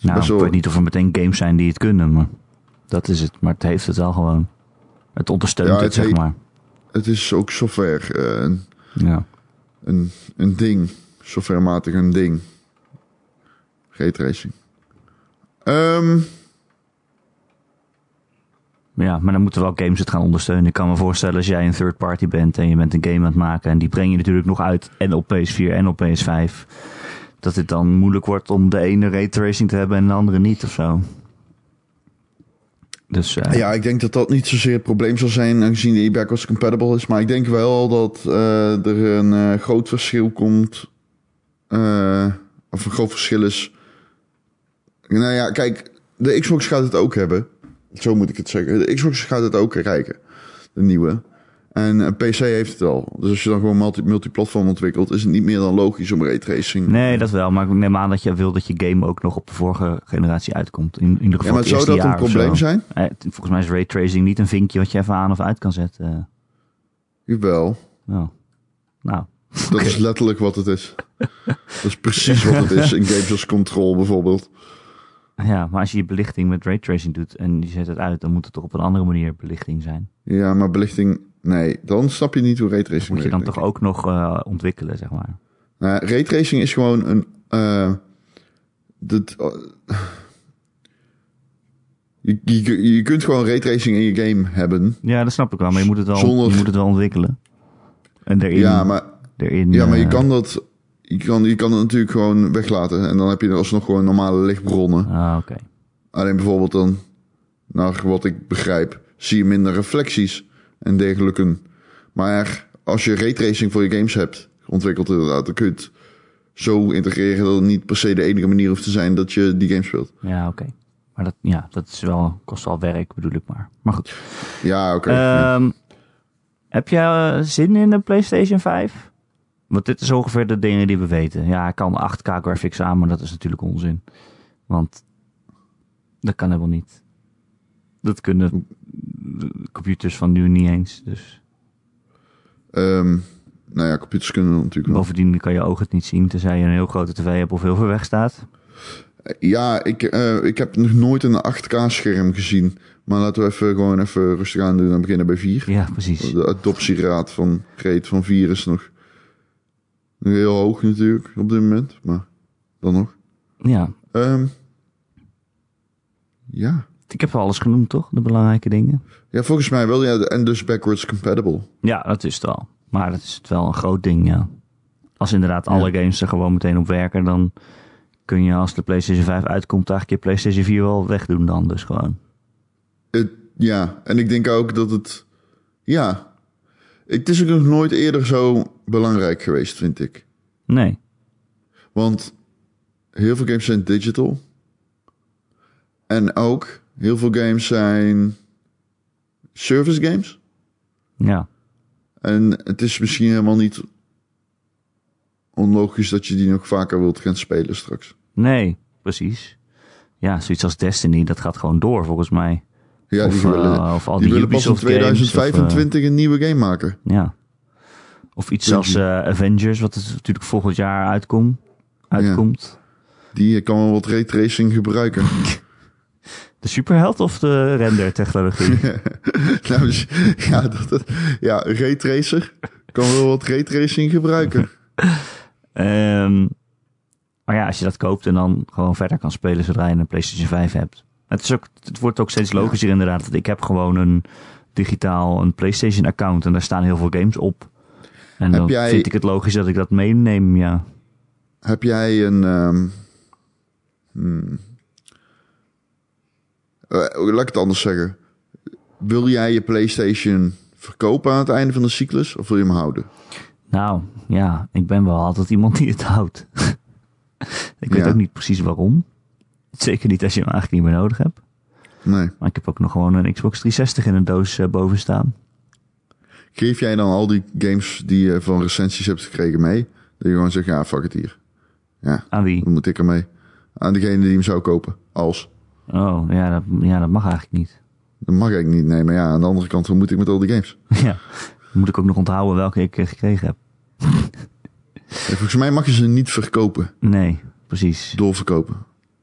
[SPEAKER 1] Nou,
[SPEAKER 2] best
[SPEAKER 1] ik
[SPEAKER 2] wel-
[SPEAKER 1] weet niet of er meteen games zijn die het kunnen, maar dat is het. Maar het heeft het wel gewoon. Het ondersteunt
[SPEAKER 2] Ja,
[SPEAKER 1] het,
[SPEAKER 2] het
[SPEAKER 1] zeg
[SPEAKER 2] heet-
[SPEAKER 1] maar.
[SPEAKER 2] Het is ook software. eh, een-
[SPEAKER 1] Ja.
[SPEAKER 2] een, een ding. Softwarematig een ding. Raytracing. Ehm
[SPEAKER 1] Ja, maar dan moeten wel games het gaan ondersteunen. Ik kan me voorstellen als jij een third party bent en je bent een game aan het maken en die breng je natuurlijk nog uit en op PS4 en op PS5. Dat het dan moeilijk wordt om de ene raytracing te hebben en de andere niet of zo. Dus eh,
[SPEAKER 2] ja, ik denk dat dat niet zozeer het probleem zal zijn, aangezien die backwards compatible is. Maar ik denk wel dat eh, er een eh, groot verschil komt. eh, of een groot verschil is. Nou ja, kijk, de Xbox gaat het ook hebben. Zo moet ik het zeggen. De Xbox gaat het ook krijgen. De nieuwe. En een PC heeft het al. Dus als je dan gewoon multi- multiplatform ontwikkelt, is het niet meer dan logisch om raytracing
[SPEAKER 1] nee, dat wel. Maar ik neem aan dat je wil dat je game ook nog op de vorige generatie uitkomt. In, in ieder
[SPEAKER 2] Ja,
[SPEAKER 1] geval
[SPEAKER 2] maar
[SPEAKER 1] het
[SPEAKER 2] zou
[SPEAKER 1] eerste
[SPEAKER 2] dat een
[SPEAKER 1] jaar of
[SPEAKER 2] probleem
[SPEAKER 1] zo.
[SPEAKER 2] zijn?
[SPEAKER 1] Eh, t- volgens mij is raytracing niet een vinkje wat je even aan of uit kan zetten. eh.
[SPEAKER 2] Jawel.
[SPEAKER 1] nou. nou,
[SPEAKER 2] Dat is letterlijk wat het is. Dat is precies wat het is in games als Control bijvoorbeeld.
[SPEAKER 1] ja, maar als je je belichting met raytracing doet en je zet het uit, dan moet het toch op een andere manier belichting zijn.
[SPEAKER 2] Ja, maar belichting... Nee, dan snap je niet hoe raytracing
[SPEAKER 1] Moet je dan
[SPEAKER 2] werkt,
[SPEAKER 1] toch
[SPEAKER 2] denk ik.
[SPEAKER 1] ook nog eh, ontwikkelen, zeg maar.
[SPEAKER 2] Nou, raytracing is gewoon een... eh, dat, je, je, je kunt gewoon raytracing in je game hebben.
[SPEAKER 1] Ja, dat snap ik wel, maar je moet het wel,
[SPEAKER 2] Zonder-
[SPEAKER 1] je moet het wel ontwikkelen. En erin,
[SPEAKER 2] Ja, maar,
[SPEAKER 1] erin,
[SPEAKER 2] ja, maar je
[SPEAKER 1] eh,
[SPEAKER 2] kan dat... Je kan, je kan het natuurlijk gewoon weglaten. En dan heb je er alsnog gewoon normale lichtbronnen.
[SPEAKER 1] Ah, oké.
[SPEAKER 2] Alleen bijvoorbeeld dan, naar wat ik begrijp, zie je minder reflecties en dergelijke. Maar als je raytracing voor je games hebt ontwikkeld inderdaad, dan kun je het zo integreren dat het niet per se de enige manier hoeft te zijn dat je die game speelt.
[SPEAKER 1] Ja, oké. Maar dat, ja, dat is wel, kost wel werk, bedoel ik maar. Maar goed.
[SPEAKER 2] Ja, oké.
[SPEAKER 1] Ehm, heb jij eh, zin in een PlayStation 5? Want dit is ongeveer de dingen die we weten. Ja, ik kan 8K graphics aan, maar dat is natuurlijk onzin. Want dat kan helemaal niet. Dat kunnen computers van nu niet eens. Dus
[SPEAKER 2] Ehm, nou ja, computers kunnen dat natuurlijk wel.
[SPEAKER 1] bovendien kan je oog het niet zien, tenzij je een heel grote tv hebt of heel ver weg staat.
[SPEAKER 2] Ja, ik, eh, ik heb nog nooit een 8K-scherm gezien. Maar laten we even gewoon even rustig aan doen en beginnen bij 4.
[SPEAKER 1] Ja, precies.
[SPEAKER 2] De adoptieraad van Greet van Vier is nog nog heel hoog natuurlijk op dit moment, maar dan nog.
[SPEAKER 1] Ja.
[SPEAKER 2] Ehm, ja.
[SPEAKER 1] Ik heb wel alles genoemd, toch? De belangrijke dingen.
[SPEAKER 2] ja, volgens mij wel. Ja, en dus backwards compatible.
[SPEAKER 1] Ja, dat is het wel. Maar dat is het wel een groot ding, ja. Als inderdaad alle games er gewoon meteen op werken, dan kun je als de PlayStation 5 uitkomt, eigenlijk je PlayStation 4 wel wegdoen dan dus gewoon.
[SPEAKER 2] Het- ja, en ik denk ook dat het... Ja, het is ook nog nooit eerder zo belangrijk geweest, vind ik.
[SPEAKER 1] Nee.
[SPEAKER 2] Want heel veel games zijn digital. En ook heel veel games zijn service games.
[SPEAKER 1] Ja.
[SPEAKER 2] En het is misschien helemaal niet onlogisch dat je die nog vaker wilt gaan spelen straks.
[SPEAKER 1] Nee, precies. Ja, zoiets als Destiny, dat gaat gewoon door volgens mij.
[SPEAKER 2] Ja,
[SPEAKER 1] Of,
[SPEAKER 2] die willen,
[SPEAKER 1] eh, of al
[SPEAKER 2] die
[SPEAKER 1] die
[SPEAKER 2] willen pas in
[SPEAKER 1] Ubisoft games, of, eh,
[SPEAKER 2] 2025 een nieuwe game maken.
[SPEAKER 1] Ja. Of iets
[SPEAKER 2] Puntje.
[SPEAKER 1] als eh, Avengers, wat het natuurlijk volgend jaar uitkom, uitkomt.
[SPEAKER 2] Die kan wel wat raytracing gebruiken.
[SPEAKER 1] De superheld of de rendertechnologie?
[SPEAKER 2] nou, dus- ja, dat, dat, ja, een raytracer kan wel wat raytracing gebruiken.
[SPEAKER 1] Ehm maar ja, als je dat koopt en dan gewoon verder kan spelen zodra je een PlayStation 5 hebt. Het, is ook, het wordt ook steeds logischer inderdaad. Want ik heb gewoon een digitaal een PlayStation account en daar staan heel veel games op. En
[SPEAKER 2] Heb
[SPEAKER 1] dan
[SPEAKER 2] jij-
[SPEAKER 1] vind ik het logisch dat ik dat meeneem, ja.
[SPEAKER 2] Heb jij een... ehm, hmm. Eh, laat ik het anders zeggen. Wil jij je PlayStation verkopen aan het einde van de cyclus? Of wil je hem houden?
[SPEAKER 1] Nou, ja, ik ben wel altijd iemand die het houdt. ik weet
[SPEAKER 2] Ja.
[SPEAKER 1] ook niet precies waarom. Zeker niet als je hem eigenlijk niet meer nodig hebt.
[SPEAKER 2] Nee.
[SPEAKER 1] Maar ik heb ook nog gewoon een Xbox 360 in een doos eh, boven staan.
[SPEAKER 2] Geef jij dan al die games die je van recensies hebt gekregen mee? Dat je gewoon zegt, ja, fuck het hier. Ja,
[SPEAKER 1] Aan wie?
[SPEAKER 2] dan moet ik ermee. Aan degene die hem zou kopen. Als.
[SPEAKER 1] Oh, ja, dat, ja, dat mag eigenlijk niet.
[SPEAKER 2] Dat mag ik niet nemen. Ja, aan de andere kant, wat moet ik met al die games?
[SPEAKER 1] ja, moet ik ook nog onthouden welke ik eh, gekregen heb.
[SPEAKER 2] En volgens mij mag je ze niet verkopen.
[SPEAKER 1] Nee, precies.
[SPEAKER 2] Doorverkopen.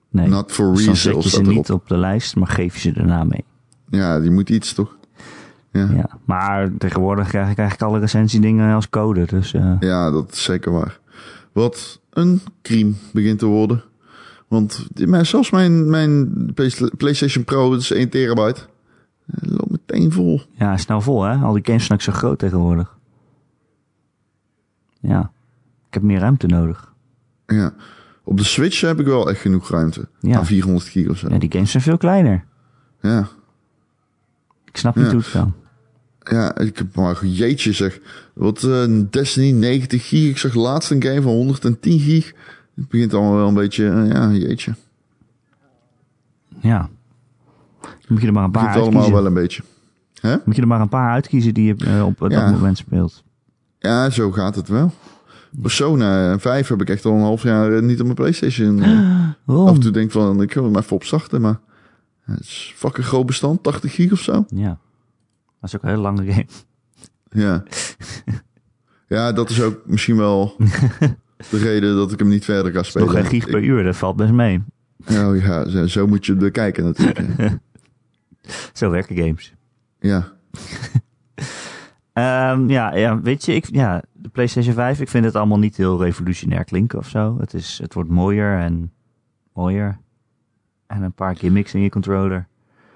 [SPEAKER 1] Nee.
[SPEAKER 2] Not for
[SPEAKER 1] Dus dan
[SPEAKER 2] resale
[SPEAKER 1] zet je ze
[SPEAKER 2] staat erop.
[SPEAKER 1] niet op de lijst, maar geef je ze daarna mee.
[SPEAKER 2] Ja, die moet iets, toch? Ja. Ja.
[SPEAKER 1] Ja. Maar tegenwoordig krijg ik eigenlijk alle recensiedingen als code. Dus eh,
[SPEAKER 2] dat is zeker waar. Wat een crime begint te worden. Want die- maar zelfs mijn, mijn Play- PlayStation Pro, dat is 1 terabyte. eh, Loopt meteen vol.
[SPEAKER 1] ja, snel vol hè. Al die games zijn ook zo groot tegenwoordig. Ja, ik heb meer ruimte nodig.
[SPEAKER 2] Ja. Op de Switch heb ik wel echt genoeg ruimte.
[SPEAKER 1] Ja.
[SPEAKER 2] Ja. 400 gig of zo.
[SPEAKER 1] Ja, die games zijn veel kleiner.
[SPEAKER 2] Ja.
[SPEAKER 1] Ik snap niet
[SPEAKER 2] Ja.
[SPEAKER 1] hoe het kan.
[SPEAKER 2] Ja, ik heb maar jeetje zeg. Wat eh Destiny 90 gig. Ik zag laatst een game van 110 gig. Het begint allemaal wel een beetje, eh, ja, jeetje. Het
[SPEAKER 1] Ja. Dan moet je er maar een paar
[SPEAKER 2] begint
[SPEAKER 1] uitkiezen.
[SPEAKER 2] allemaal wel een beetje. Hè?
[SPEAKER 1] Moet je er maar een paar uitkiezen die je eh, op eh, dat
[SPEAKER 2] Ja.
[SPEAKER 1] moment speelt.
[SPEAKER 2] Ja, zo gaat het wel. Persona 5 heb ik echt al een half jaar eh, niet op mijn Playstation. eh.
[SPEAKER 1] Oh.
[SPEAKER 2] Af en toe denk ik van, ik wil hem even opzachten, maar... Het is fucking groot bestand, 80 gig of zo.
[SPEAKER 1] Ja. Dat is ook een hele lange game.
[SPEAKER 2] Ja. ja, dat is ook misschien wel de reden dat ik hem niet verder kan spelen.
[SPEAKER 1] Nog een gig per uur, dat valt best mee.
[SPEAKER 2] Ik- oh ja, zo, zo moet je het bekijken natuurlijk. hè.
[SPEAKER 1] Zo werken games.
[SPEAKER 2] ja.
[SPEAKER 1] Ehm, ja, ja, weet je, ik, ja, de PlayStation 5, ik vind het allemaal niet heel revolutionair klinken of zo. Het, is, het wordt mooier en mooier. En een paar gimmicks in je controller.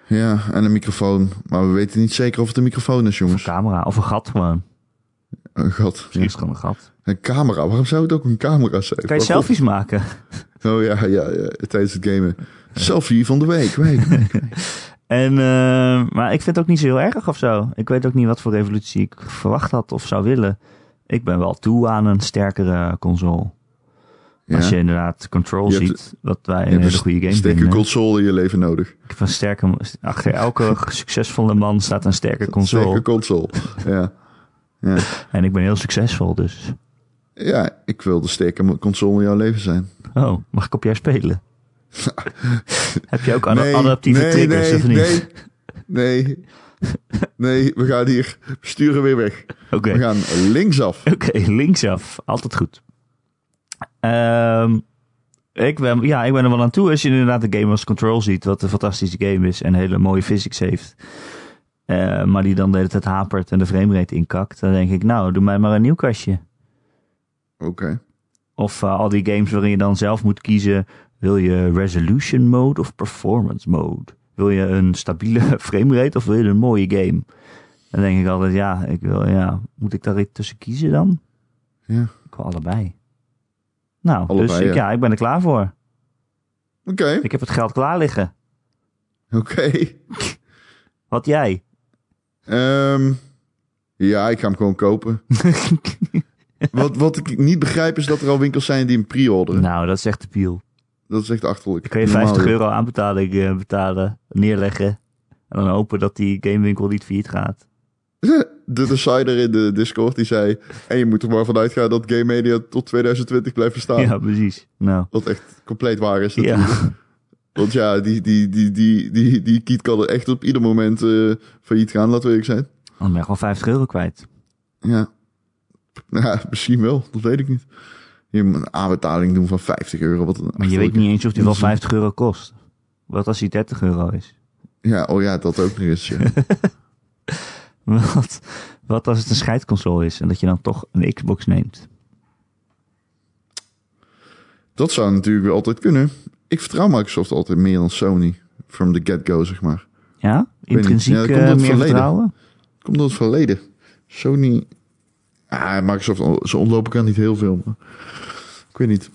[SPEAKER 2] ja, en een microfoon. Maar we weten niet zeker of het een microfoon is,
[SPEAKER 1] Of een
[SPEAKER 2] jongens.
[SPEAKER 1] camera, of een gat gewoon.
[SPEAKER 2] Oh god.
[SPEAKER 1] Misschien is het gewoon een gat.
[SPEAKER 2] Een camera. Waarom zou het ook een camera zijn?
[SPEAKER 1] Kan je
[SPEAKER 2] Waarom?
[SPEAKER 1] selfies maken?
[SPEAKER 2] Oh ja, ja, ja, tijdens het gamen. Selfie van de week. week.
[SPEAKER 1] En, eh, maar ik vind het ook niet zo heel erg of zo. Ik weet ook niet wat voor revolutie ik verwacht had of zou willen. Ik ben wel toe aan een sterkere console.
[SPEAKER 2] Ja.
[SPEAKER 1] Als je inderdaad control
[SPEAKER 2] Je hebt-
[SPEAKER 1] ziet, wat wij
[SPEAKER 2] Je
[SPEAKER 1] een
[SPEAKER 2] hebt
[SPEAKER 1] hele goede game
[SPEAKER 2] sterke
[SPEAKER 1] vinden.
[SPEAKER 2] console in je leven nodig.
[SPEAKER 1] Ik heb een sterke, achter elke succesvolle man staat een sterke console.
[SPEAKER 2] Sterke console. ja. Ja.
[SPEAKER 1] En ik ben heel succesvol, dus.
[SPEAKER 2] ja, ik wil de sterke console in jouw leven zijn.
[SPEAKER 1] Oh, mag ik op jou spelen? Heb je ook ad-
[SPEAKER 2] Nee,
[SPEAKER 1] adaptieve
[SPEAKER 2] nee,
[SPEAKER 1] triggers,
[SPEAKER 2] nee,
[SPEAKER 1] of niet?
[SPEAKER 2] Nee, nee, nee, we gaan hier we sturen weer weg.
[SPEAKER 1] Oké,
[SPEAKER 2] We gaan linksaf.
[SPEAKER 1] Oké, linksaf. Altijd goed. Ehm, ik, ben, ja, ik ben er wel aan toe als je inderdaad de game als Control ziet, wat een fantastische game is en hele mooie physics heeft. Eh, maar die dan de hele tijd hapert en de framerate inkakt. Dan denk ik, nou, doe mij maar een nieuw kastje.
[SPEAKER 2] Oké.
[SPEAKER 1] Of eh, al die games waarin je dan zelf moet kiezen: wil je resolution mode of performance mode? Wil je een stabiele framerate of wil je een mooie game? Dan denk ik altijd: ja, ik wil, ja moet ik daar iets tussen kiezen dan?
[SPEAKER 2] Ja.
[SPEAKER 1] Ik wil allebei. Nou, dus
[SPEAKER 2] Allebei,
[SPEAKER 1] ik,
[SPEAKER 2] ja.
[SPEAKER 1] ja, ik ben er klaar voor.
[SPEAKER 2] Oké,
[SPEAKER 1] Ik heb het geld klaar liggen.
[SPEAKER 2] oké.
[SPEAKER 1] Wat jij?
[SPEAKER 2] Ehm, Ja, ik ga hem gewoon kopen. Wat, wat ik niet begrijp is dat er al winkels zijn die hem pre-orderen.
[SPEAKER 1] nou, dat is echt de piel.
[SPEAKER 2] Dat is echt achterlijk.
[SPEAKER 1] Dan kan je
[SPEAKER 2] Normaal,
[SPEAKER 1] 50
[SPEAKER 2] joh.
[SPEAKER 1] euro aanbetaling eh, betalen, neerleggen. En dan hopen dat die gamewinkel niet failliet gaat.
[SPEAKER 2] de decider in de Discord die zei... En je moet er maar vanuit gaan dat game media tot 2020 blijft bestaan.
[SPEAKER 1] Ja, precies. Nou,
[SPEAKER 2] Wat echt compleet waar is. natuurlijk.
[SPEAKER 1] ja.
[SPEAKER 2] Want ja, die, die, die, die, die, die kiet kan er echt op ieder moment eh, failliet gaan, laten we eerlijk zijn.
[SPEAKER 1] Oh, Dan ben ik al 50 euro kwijt.
[SPEAKER 2] Ja. ja, misschien wel. Dat weet ik niet. Je moet een aanbetaling doen van 50 euro. Wat een
[SPEAKER 1] Maar je weet
[SPEAKER 2] achterlijk-
[SPEAKER 1] niet eens of die wel 50 euro kost. Wat als die 30 euro is?
[SPEAKER 2] Ja, oh ja, dat ook nog eens. ja.
[SPEAKER 1] Wat, wat als het een scheidconsole is en dat je dan toch een Xbox neemt?
[SPEAKER 2] dat zou natuurlijk weer altijd kunnen. Ik vertrouw Microsoft altijd meer dan Sony. From the get-go, zeg maar.
[SPEAKER 1] Ja?
[SPEAKER 2] niet.
[SPEAKER 1] Intrinsiek
[SPEAKER 2] Ja, dat
[SPEAKER 1] eh,
[SPEAKER 2] komt door
[SPEAKER 1] meer
[SPEAKER 2] het verleden.
[SPEAKER 1] vertrouwen?
[SPEAKER 2] Komt door het verleden. Sony... Ah, Microsoft, on- ze ontlopen elkaar niet heel veel. Maar... Ik weet niet.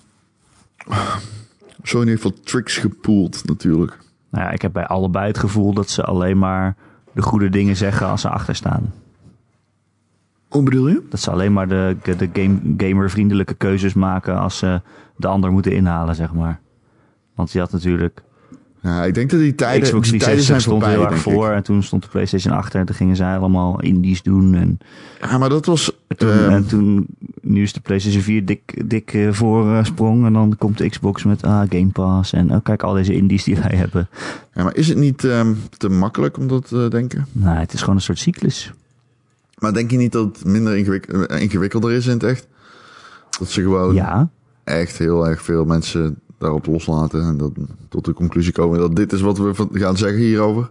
[SPEAKER 2] Sony heeft wel tricks gepoeld, natuurlijk.
[SPEAKER 1] Nou ja, ik heb bij allebei het gevoel dat ze alleen maar de goede dingen zeggen als ze achter staan.
[SPEAKER 2] Hoe bedoel je?
[SPEAKER 1] Dat ze alleen maar de, de game, gamervriendelijke keuzes maken als ze de ander moeten inhalen, zeg maar. Want je had natuurlijk...
[SPEAKER 2] Nou, ik denk dat die tijden,
[SPEAKER 1] Xbox
[SPEAKER 2] die tijden
[SPEAKER 1] 360
[SPEAKER 2] zijn
[SPEAKER 1] stond
[SPEAKER 2] voorbij,
[SPEAKER 1] heel erg
[SPEAKER 2] denk ik.
[SPEAKER 1] voor en toen stond de PlayStation achter en toen gingen zij allemaal indies doen. En,
[SPEAKER 2] Ja, maar dat was...
[SPEAKER 1] toen,
[SPEAKER 2] ehm,
[SPEAKER 1] en toen, nu is de PlayStation 4 dik, dik eh, voor eh, sprong en dan komt de Xbox met ah, Game Pass en oh, kijk al deze indies die wij hebben.
[SPEAKER 2] ja, maar is het niet ehm, te makkelijk om dat te denken?
[SPEAKER 1] Nou, het is gewoon een soort cyclus.
[SPEAKER 2] Maar denk je niet dat het minder ingewik- eh, ingewikkelder is in het echt? Dat ze gewoon
[SPEAKER 1] Ja,
[SPEAKER 2] echt heel erg veel mensen daarop loslaten en dat, tot de conclusie komen dat dit is wat we van- gaan zeggen hierover.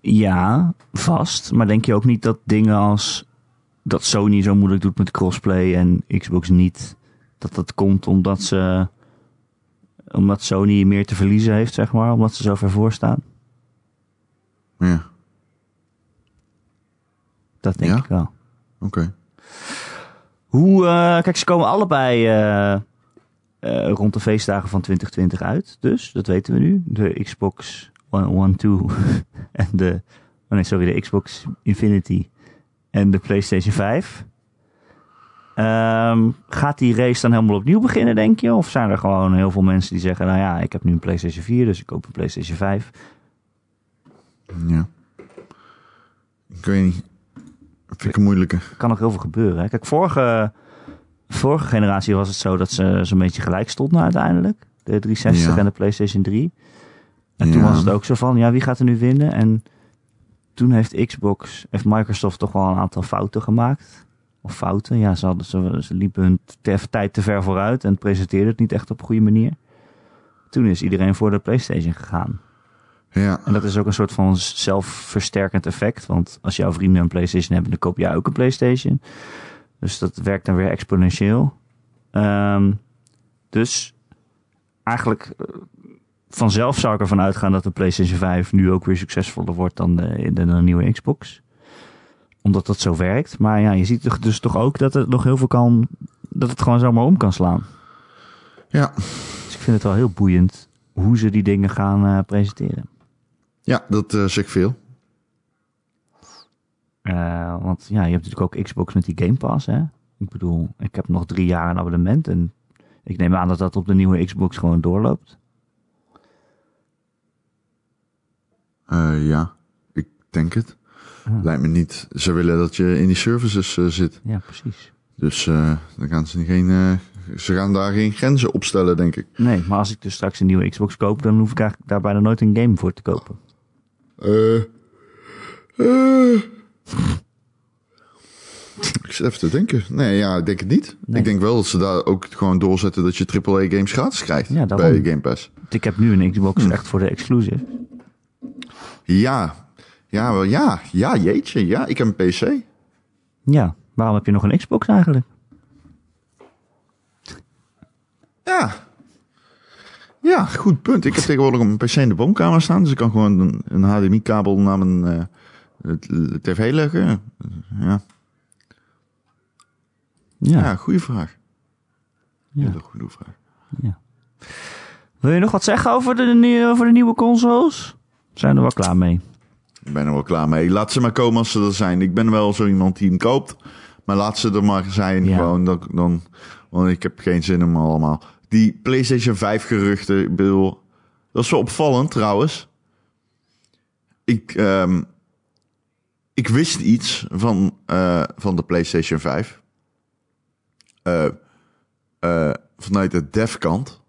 [SPEAKER 1] ja, vast. Maar denk je ook niet dat dingen als dat Sony zo moeilijk doet met crossplay en Xbox niet, dat dat komt omdat ze omdat Sony meer te verliezen heeft, zeg maar, omdat ze zo ver voor staan?
[SPEAKER 2] Ja,
[SPEAKER 1] Dat denk
[SPEAKER 2] Ja?
[SPEAKER 1] ik wel.
[SPEAKER 2] oké.
[SPEAKER 1] Hoe, eh, kijk, ze komen allebei eh, eh, rond de feestdagen van 2020 uit. Dus, dat weten we nu. De Xbox One, One 2 en de, oh nee, sorry, de Xbox Infinity en de PlayStation 5. Ehm, gaat die race dan helemaal opnieuw beginnen, denk je? Of zijn er gewoon heel veel mensen die zeggen, nou ja, ik heb nu een PlayStation 4, dus ik koop een PlayStation 5.
[SPEAKER 2] Ja. Ik weet niet. Vind ik een moeilijke.
[SPEAKER 1] Er kan nog heel veel gebeuren. Hè? Kijk, vorige, vorige generatie was het zo dat ze zo'n beetje gelijk stonden uiteindelijk. De 360
[SPEAKER 2] Ja.
[SPEAKER 1] en de PlayStation 3. En toen
[SPEAKER 2] Ja.
[SPEAKER 1] was het ook zo van, ja, wie gaat er nu winnen? En toen heeft Xbox, heeft Microsoft toch wel een aantal fouten gemaakt. Of fouten, ja, ze, hadden, ze, ze liepen hun te- tijd te ver vooruit en presenteerden het niet echt op een goede manier. Toen is iedereen voor de PlayStation gegaan.
[SPEAKER 2] Ja,
[SPEAKER 1] En dat is ook een soort van zelfversterkend effect. Want als jouw vrienden een PlayStation hebben, dan koop jij ook een PlayStation. Dus dat werkt dan weer exponentieel. Ehm, dus eigenlijk eh, vanzelf zou ik ervan uitgaan dat de PlayStation 5 nu ook weer succesvoller wordt dan de, dan de nieuwe Xbox. Omdat dat zo werkt. Maar ja, je ziet toch- dus toch ook dat het nog heel veel kan. Dat het gewoon zomaar om kan slaan.
[SPEAKER 2] ja.
[SPEAKER 1] Dus ik vind het wel heel boeiend hoe ze die dingen gaan eh, presenteren.
[SPEAKER 2] ja dat eh zegt veel.
[SPEAKER 1] Eh, want ja, je hebt natuurlijk ook Xbox met die Game Pass. Hè? Ik bedoel, ik heb nog drie jaar een abonnement. En ik neem aan dat dat op de nieuwe Xbox gewoon doorloopt.
[SPEAKER 2] Eh, ja, ik denk het.
[SPEAKER 1] Ja.
[SPEAKER 2] Lijkt me niet. Ze willen dat je in die services eh, zit.
[SPEAKER 1] Ja, precies.
[SPEAKER 2] Dus eh, dan gaan ze geen. eh, ze gaan daar geen grenzen opstellen, denk ik.
[SPEAKER 1] Nee, maar als ik dus straks een nieuwe Xbox koop, dan hoef ik eigenlijk daar bijna nooit een game voor te kopen.
[SPEAKER 2] Eh. eh. ik zit even te denken. Nee, ja, ik denk het niet.
[SPEAKER 1] Nee.
[SPEAKER 2] Ik denk wel dat ze daar ook gewoon doorzetten dat je AAA-games gratis krijgt
[SPEAKER 1] Ja, daarom.
[SPEAKER 2] bij Game Pass.
[SPEAKER 1] Want ik heb nu een Xbox echt voor de exclusive.
[SPEAKER 2] Ja. Ja, wel, ja. Ja, jeetje. Ja, ik heb een PC.
[SPEAKER 1] Ja, waarom heb je nog een Xbox eigenlijk?
[SPEAKER 2] Ja. Ja, goed punt. Ik heb tegenwoordig een PC in de woonkamer staan, dus ik kan gewoon een, een HDMI-kabel naar mijn eh, het- het tv leggen. Ja,
[SPEAKER 1] Ja.
[SPEAKER 2] ja goede vraag.
[SPEAKER 1] Ja.
[SPEAKER 2] Hele goede vraag.
[SPEAKER 1] Wil je nog wat zeggen over de, nie- over de nieuwe consoles? Zijn we er wel klaar mee?
[SPEAKER 2] Ik ben er wel klaar mee. Laat ze maar komen als ze er zijn. Ik ben wel zo iemand die hem koopt. Maar laat ze er maar zijn.
[SPEAKER 1] Ja.
[SPEAKER 2] Gewoon dan, dan, want ik heb geen zin om allemaal. Die PlayStation 5 geruchten. Ik bedoel, dat is wel opvallend trouwens. Ik, ehm, ik wist iets van, eh, van de PlayStation 5. Eh, eh, vanuit de dev-kant.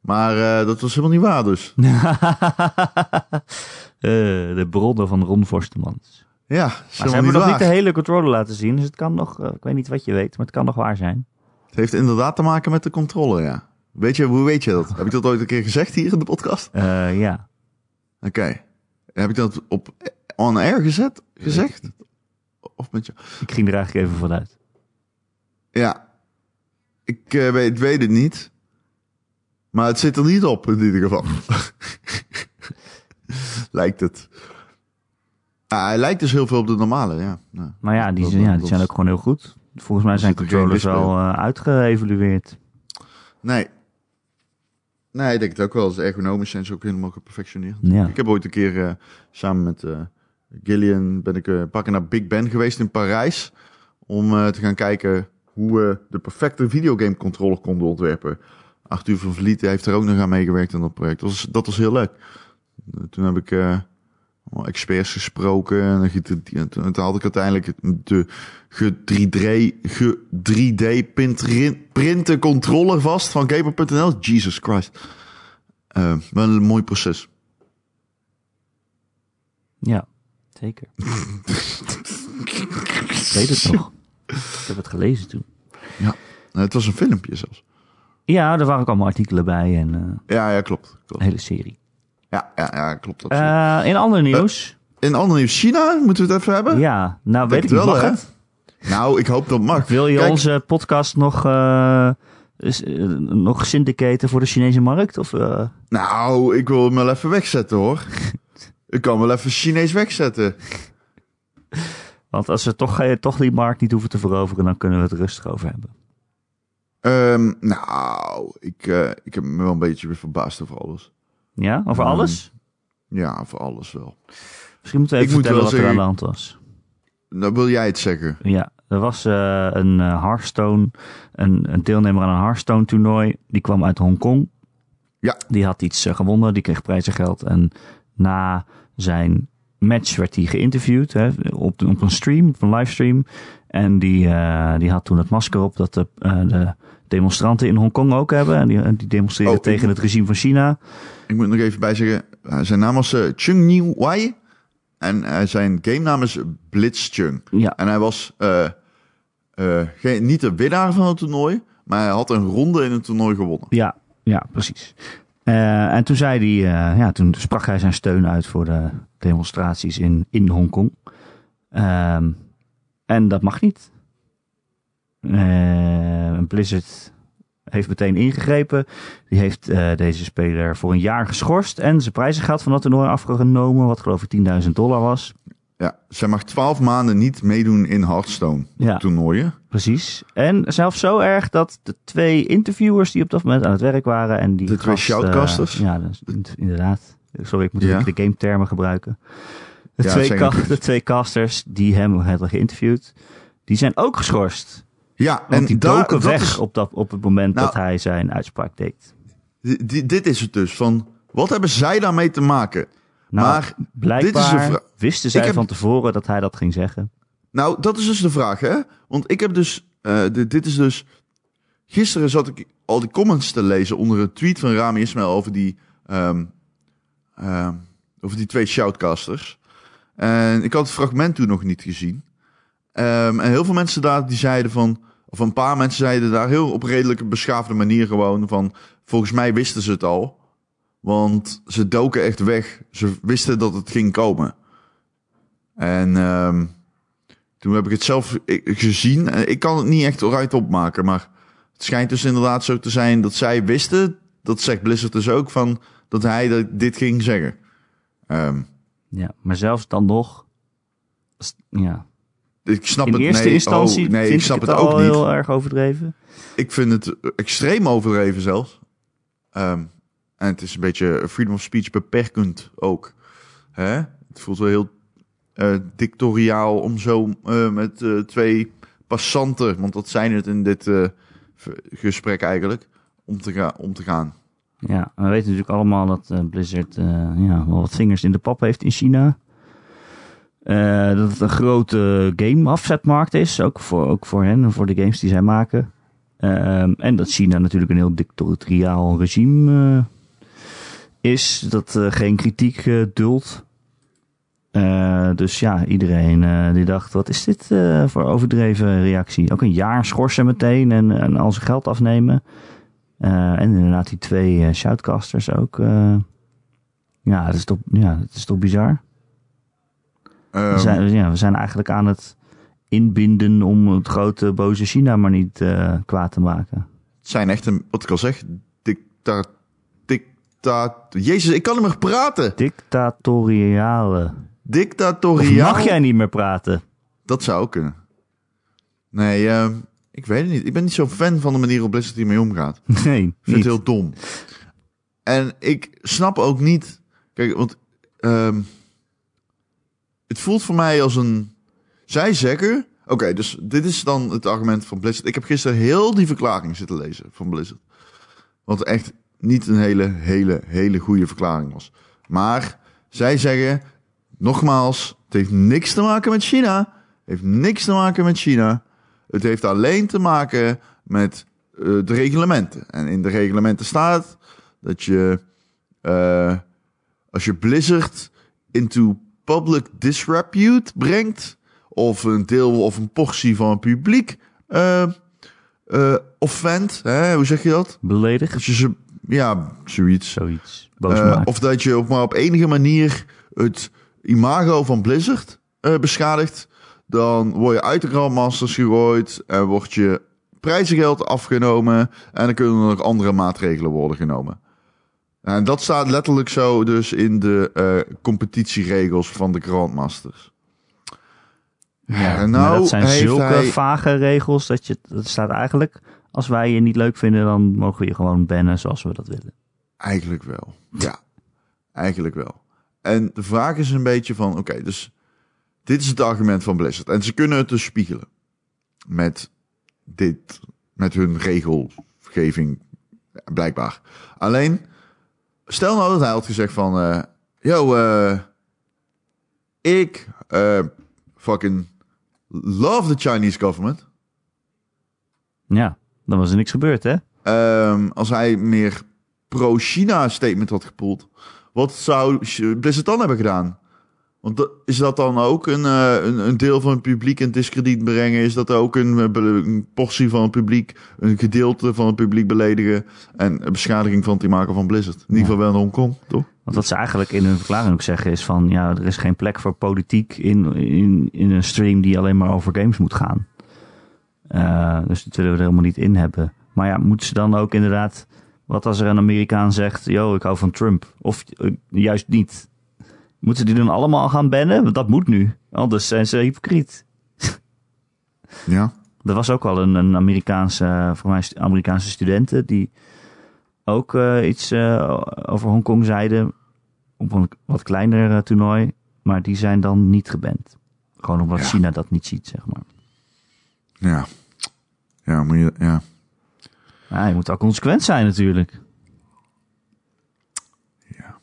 [SPEAKER 2] Maar eh, dat was helemaal niet waar dus.
[SPEAKER 1] Eh, de bronnen van Ron Forstemans.
[SPEAKER 2] Ja, dat is
[SPEAKER 1] Maar ze
[SPEAKER 2] helemaal
[SPEAKER 1] hebben
[SPEAKER 2] niet
[SPEAKER 1] nog
[SPEAKER 2] waar.
[SPEAKER 1] niet de hele controller laten zien. Dus het kan nog, eh, ik weet niet wat je weet, maar het kan nog waar zijn.
[SPEAKER 2] Het heeft inderdaad te maken met de controle, ja. Weet je, hoe weet je dat? Heb ik dat ooit een keer gezegd hier in de podcast?
[SPEAKER 1] Eh, ja.
[SPEAKER 2] Oké. Heb ik dat op on-air gezet, gezegd? Of met je...
[SPEAKER 1] Ik ging er eigenlijk even vanuit.
[SPEAKER 2] Ja. Ik eh, weet, weet het niet. Maar het zit er niet op, in ieder geval. lijkt het. Ah, hij lijkt dus heel veel op de normale, ja. ja.
[SPEAKER 1] Maar ja, die,
[SPEAKER 2] Dat-
[SPEAKER 1] zijn- ja,
[SPEAKER 2] dat-
[SPEAKER 1] die zijn ook gewoon heel goed. Volgens mij zijn
[SPEAKER 2] zit er geen
[SPEAKER 1] controllers
[SPEAKER 2] display
[SPEAKER 1] wel eh uitgeëvalueerd.
[SPEAKER 2] Nee. Nee, ik denk het ook wel. De ergonomisch zijn ze ook helemaal geperfectioneerd.
[SPEAKER 1] Ja.
[SPEAKER 2] Ik heb ooit een keer eh, samen met eh Gillian ben ik eh, een paar keer naar Big Ben geweest in Parijs. Om eh, te gaan kijken hoe we de perfecte videogame controller konden ontwerpen. Arthur van Vliet heeft er ook nog aan meegewerkt aan dat project. Dat was, dat was heel leuk. Eh, Toen heb ik eh, allemaal experts gesproken. En dan giet het- en toen toen had ik uiteindelijk de ge 3D, ge 3D print, printen controller vast van Gamer.nl. Jesus Christ. Eh, wel een mooi proces.
[SPEAKER 1] Ja, zeker. ik weet het nog. Ik heb het gelezen toen.
[SPEAKER 2] Nou, het was een filmpje zelfs.
[SPEAKER 1] Ja, er waren ook allemaal artikelen bij en eh,
[SPEAKER 2] Ja, ja, klopt. klopt.
[SPEAKER 1] een hele serie.
[SPEAKER 2] Ja, ja, ja, klopt.
[SPEAKER 1] Eh,
[SPEAKER 2] absoluut.
[SPEAKER 1] in ander nieuws.
[SPEAKER 2] In ander nieuws, China, moeten we het even hebben?
[SPEAKER 1] ja, nou weet ik
[SPEAKER 2] het
[SPEAKER 1] niet.
[SPEAKER 2] wel,
[SPEAKER 1] Mag
[SPEAKER 2] hè?
[SPEAKER 1] het?
[SPEAKER 2] Nou, ik hoop dat mag.
[SPEAKER 1] Wil je
[SPEAKER 2] Kijk,
[SPEAKER 1] onze podcast nog, eh, s- eh, nog syndicaten voor de Chinese markt? Of, eh,
[SPEAKER 2] Nou, ik wil hem wel even wegzetten, hoor. ik kan wel even Chinees wegzetten.
[SPEAKER 1] want als we toch, eh, toch die markt niet hoeven te veroveren, dan kunnen we het rustig over hebben.
[SPEAKER 2] Ehm, nou, ik, eh, ik heb me wel een beetje weer verbaasd over alles.
[SPEAKER 1] Ja, over
[SPEAKER 2] Ehm,
[SPEAKER 1] alles?
[SPEAKER 2] Ja, voor alles wel.
[SPEAKER 1] Misschien moeten we
[SPEAKER 2] ik
[SPEAKER 1] even
[SPEAKER 2] moet
[SPEAKER 1] vertellen
[SPEAKER 2] wel
[SPEAKER 1] wat er aan
[SPEAKER 2] zeggen-
[SPEAKER 1] de hand was.
[SPEAKER 2] Nou, wil jij het zeggen?
[SPEAKER 1] Ja, er was eh, een eh, Hearthstone, een, een deelnemer aan een Hearthstone toernooi. Die kwam uit Hongkong.
[SPEAKER 2] Ja.
[SPEAKER 1] Die had iets eh, gewonnen, die kreeg prijzengeld. En na zijn match werd hij geïnterviewd hè, op, op een stream, op een livestream. En die, eh, die had toen het masker op dat de, eh, de demonstranten in Hongkong ook hebben. En die, die demonstreren
[SPEAKER 2] Oh, ik
[SPEAKER 1] tegen
[SPEAKER 2] moet-
[SPEAKER 1] het regime van China.
[SPEAKER 2] Ik moet nog even bijzeggen. eh, Zijn naam was eh, Chung Niu Wai. En eh, zijn game naam is Blitz Chung.
[SPEAKER 1] Ja,
[SPEAKER 2] En hij was eh, eh, geen, niet de winnaar van het toernooi, maar hij had een ronde in het toernooi gewonnen.
[SPEAKER 1] Ja, ja, precies. Eh, en toen zei hij, eh, ja, toen sprak hij zijn steun uit voor de demonstraties in, in Hongkong. Ehm, en dat mag niet. Eh, Blizzard heeft meteen ingegrepen. Die heeft eh, deze speler voor een jaar geschorst en zijn prijzengeld van dat toernooi afgenomen, wat geloof ik 10.000 dollar was.
[SPEAKER 2] Ja, zij mag twaalf maanden niet meedoen in Hearthstone
[SPEAKER 1] Ja,
[SPEAKER 2] toernooien.
[SPEAKER 1] precies. En zelfs zo erg dat de twee interviewers die op dat moment aan het werk waren en die
[SPEAKER 2] De twee
[SPEAKER 1] gast, eh,
[SPEAKER 2] shoutcasters?
[SPEAKER 1] ja, dat is in- inderdaad. Sorry, ik moet
[SPEAKER 2] Ja.
[SPEAKER 1] de game termen gebruiken. De,
[SPEAKER 2] Ja,
[SPEAKER 1] twee
[SPEAKER 2] zeg
[SPEAKER 1] ka-
[SPEAKER 2] het.
[SPEAKER 1] de twee casters die hem hadden geïnterviewd, die zijn ook geschorst.
[SPEAKER 2] Ja,
[SPEAKER 1] Want die
[SPEAKER 2] daar-
[SPEAKER 1] doken
[SPEAKER 2] dat
[SPEAKER 1] weg
[SPEAKER 2] is-
[SPEAKER 1] op, dat, op het moment
[SPEAKER 2] Nou.
[SPEAKER 1] dat hij zijn uitspraak deed.
[SPEAKER 2] di- di- dit is het dus van. Wat hebben zij daarmee te maken?
[SPEAKER 1] Nou,
[SPEAKER 2] Maar dit is de
[SPEAKER 1] blijkbaar
[SPEAKER 2] vra-
[SPEAKER 1] wisten zij
[SPEAKER 2] heb-
[SPEAKER 1] van tevoren dat hij dat ging zeggen.
[SPEAKER 2] Nou, dat is dus de vraag, hè? Want ik heb dus. eh, dit, dit is dus. Gisteren zat ik al die comments te lezen onder een tweet van Rami Ismail over die. ehm, ehm, over die twee shoutcasters. En ik had het fragment toen nog niet gezien. Ehm, en heel veel mensen daar die zeiden van. Of een paar mensen zeiden daar heel op redelijke, beschaafde manier gewoon van. Volgens mij wisten ze het al. Want ze doken echt weg. Ze wisten dat het ging komen. En. ehm, toen heb ik het zelf eh, gezien. Eh, Ik kan het niet echt eruit opmaken, maar het schijnt dus inderdaad zo te zijn dat zij wisten, dat zegt Blizzard dus ook, van dat hij dat- dit ging zeggen. Ehm,
[SPEAKER 1] Ja, maar zelfs dan nog, s- ja.
[SPEAKER 2] ik snap
[SPEAKER 1] in
[SPEAKER 2] het
[SPEAKER 1] eerste
[SPEAKER 2] nee,
[SPEAKER 1] instantie
[SPEAKER 2] oh, nee,
[SPEAKER 1] vind
[SPEAKER 2] ik snap
[SPEAKER 1] het,
[SPEAKER 2] het
[SPEAKER 1] al
[SPEAKER 2] ook niet.
[SPEAKER 1] heel erg overdreven.
[SPEAKER 2] Ik vind het extreem overdreven zelfs. Ehm, en het is een beetje freedom of speech beperkend ook. Hè? Het voelt wel heel eh, dictoriaal om zo eh, met eh, twee passanten, want dat zijn het in dit eh, v- gesprek eigenlijk, om te, ga- om te gaan.
[SPEAKER 1] Ja, we weten natuurlijk allemaal dat eh, Blizzard eh, ja, wel wat vingers in de pap heeft in China. eh, dat het een grote game-afzetmarkt is. Ook voor, ook voor hen en voor de games die zij maken. Ehm, en dat China natuurlijk een heel dictatoriaal regime eh, is. Dat eh, geen kritiek eh, duldt. Eh, dus ja, iedereen eh, die dacht, wat is dit eh, voor overdreven reactie? Ook een jaar schorsen meteen en, en al zijn geld afnemen. Eh, en inderdaad die twee eh, shoutcasters ook. eh. ja, dat is toch, ja, dat is toch bizar?
[SPEAKER 3] Ehm,
[SPEAKER 1] We zijn, ja, we zijn eigenlijk aan het inbinden om het grote boze China maar niet eh, kwaad te maken.
[SPEAKER 2] Het zijn echt een, wat ik al zeg, dicta, dicta, Jezus, ik kan niet meer praten.
[SPEAKER 1] Dictatoriale. Of
[SPEAKER 2] Dictatoriaal.
[SPEAKER 1] mag jij niet meer praten?
[SPEAKER 2] Dat zou ook kunnen. Nee, ehm, ik weet het niet. Ik ben niet zo'n fan van de manier op Blizzard hiermee omgaat.
[SPEAKER 1] Nee,
[SPEAKER 2] Ik
[SPEAKER 1] niet.
[SPEAKER 2] vind het heel dom. En ik snap ook niet. Kijk, want ehm, het voelt voor mij als een. Zij zeggen. Oké, dus dit is dan het argument van Blizzard. Ik heb gisteren heel die verklaring zitten lezen van Blizzard. Wat echt niet een hele, hele, hele goede verklaring was. Maar zij zeggen, nogmaals, het heeft niks te maken met China. Het heeft niks te maken met China. Het heeft alleen te maken met eh, de reglementen. En in de reglementen staat dat je, eh, als je Blizzard into public disrepute brengt, of een deel of een portie van het publiek eh eh, offend, hè, hoe zeg je dat?
[SPEAKER 1] Beledigd?
[SPEAKER 2] Dat je ze, ja, zoiets.
[SPEAKER 1] Zoiets. Boos
[SPEAKER 2] Eh,
[SPEAKER 1] maken.
[SPEAKER 2] of dat je op, maar op enige manier het imago van Blizzard eh, beschadigt. Dan word je uit de Grandmasters gegooid en wordt je prijzengeld afgenomen. En dan kunnen er nog andere maatregelen worden genomen. En dat staat letterlijk zo dus in de eh, competitieregels van de Grandmasters.
[SPEAKER 1] Ja,
[SPEAKER 2] en
[SPEAKER 1] maar
[SPEAKER 2] nou
[SPEAKER 1] dat zijn
[SPEAKER 2] heeft
[SPEAKER 1] zulke
[SPEAKER 2] hij-
[SPEAKER 1] vage regels dat je. Dat staat eigenlijk. Als wij je niet leuk vinden, dan mogen we je gewoon bannen zoals we dat willen.
[SPEAKER 2] Eigenlijk wel. Ja, eigenlijk wel. En de vraag is een beetje van, oké, dus dit is het argument van Blizzard. En ze kunnen het dus spiegelen met dit, met hun regelgeving, blijkbaar. Alleen, stel nou dat hij had gezegd van, eh yo, eh, ik eh, fucking love the Chinese government.
[SPEAKER 1] Ja, dan was er niks gebeurd, hè?
[SPEAKER 2] Ehm, als hij meer pro-China statement had gepoeld, wat zou Blizzard dan hebben gedaan? Want dat- is dat dan ook een, eh, een, een deel van het publiek in discrediet brengen? Is dat ook een, eh, be- een portie van het publiek, een gedeelte van het publiek beledigen en een beschadiging van het imago van Blizzard? In ieder geval wel in Hongkong, toch?
[SPEAKER 1] Want wat ze eigenlijk in hun verklaring ook zeggen is van ja, er is geen plek voor politiek in, in, in een stream die alleen maar over games moet gaan. Eh, dus dat willen we er helemaal niet in hebben. Maar ja, moeten ze dan ook inderdaad, wat als er een Amerikaan zegt, yo, ik hou van Trump. Of eh, juist niet. Moeten ze die dan allemaal gaan bannen? Want dat moet nu. Anders zijn ze hypocriet.
[SPEAKER 2] Ja.
[SPEAKER 1] Er was ook al een, een Amerikaanse, eh, voor mij stu- Amerikaanse studenten die ook eh, iets eh, over Hongkong zeiden. Op een wat kleiner eh, toernooi. Maar die zijn dan niet geband. Gewoon omdat China dat niet ziet, zeg maar.
[SPEAKER 2] Ja. Ja, moet je, ja.
[SPEAKER 1] Maar je moet wel consequent zijn natuurlijk.
[SPEAKER 2] Ja.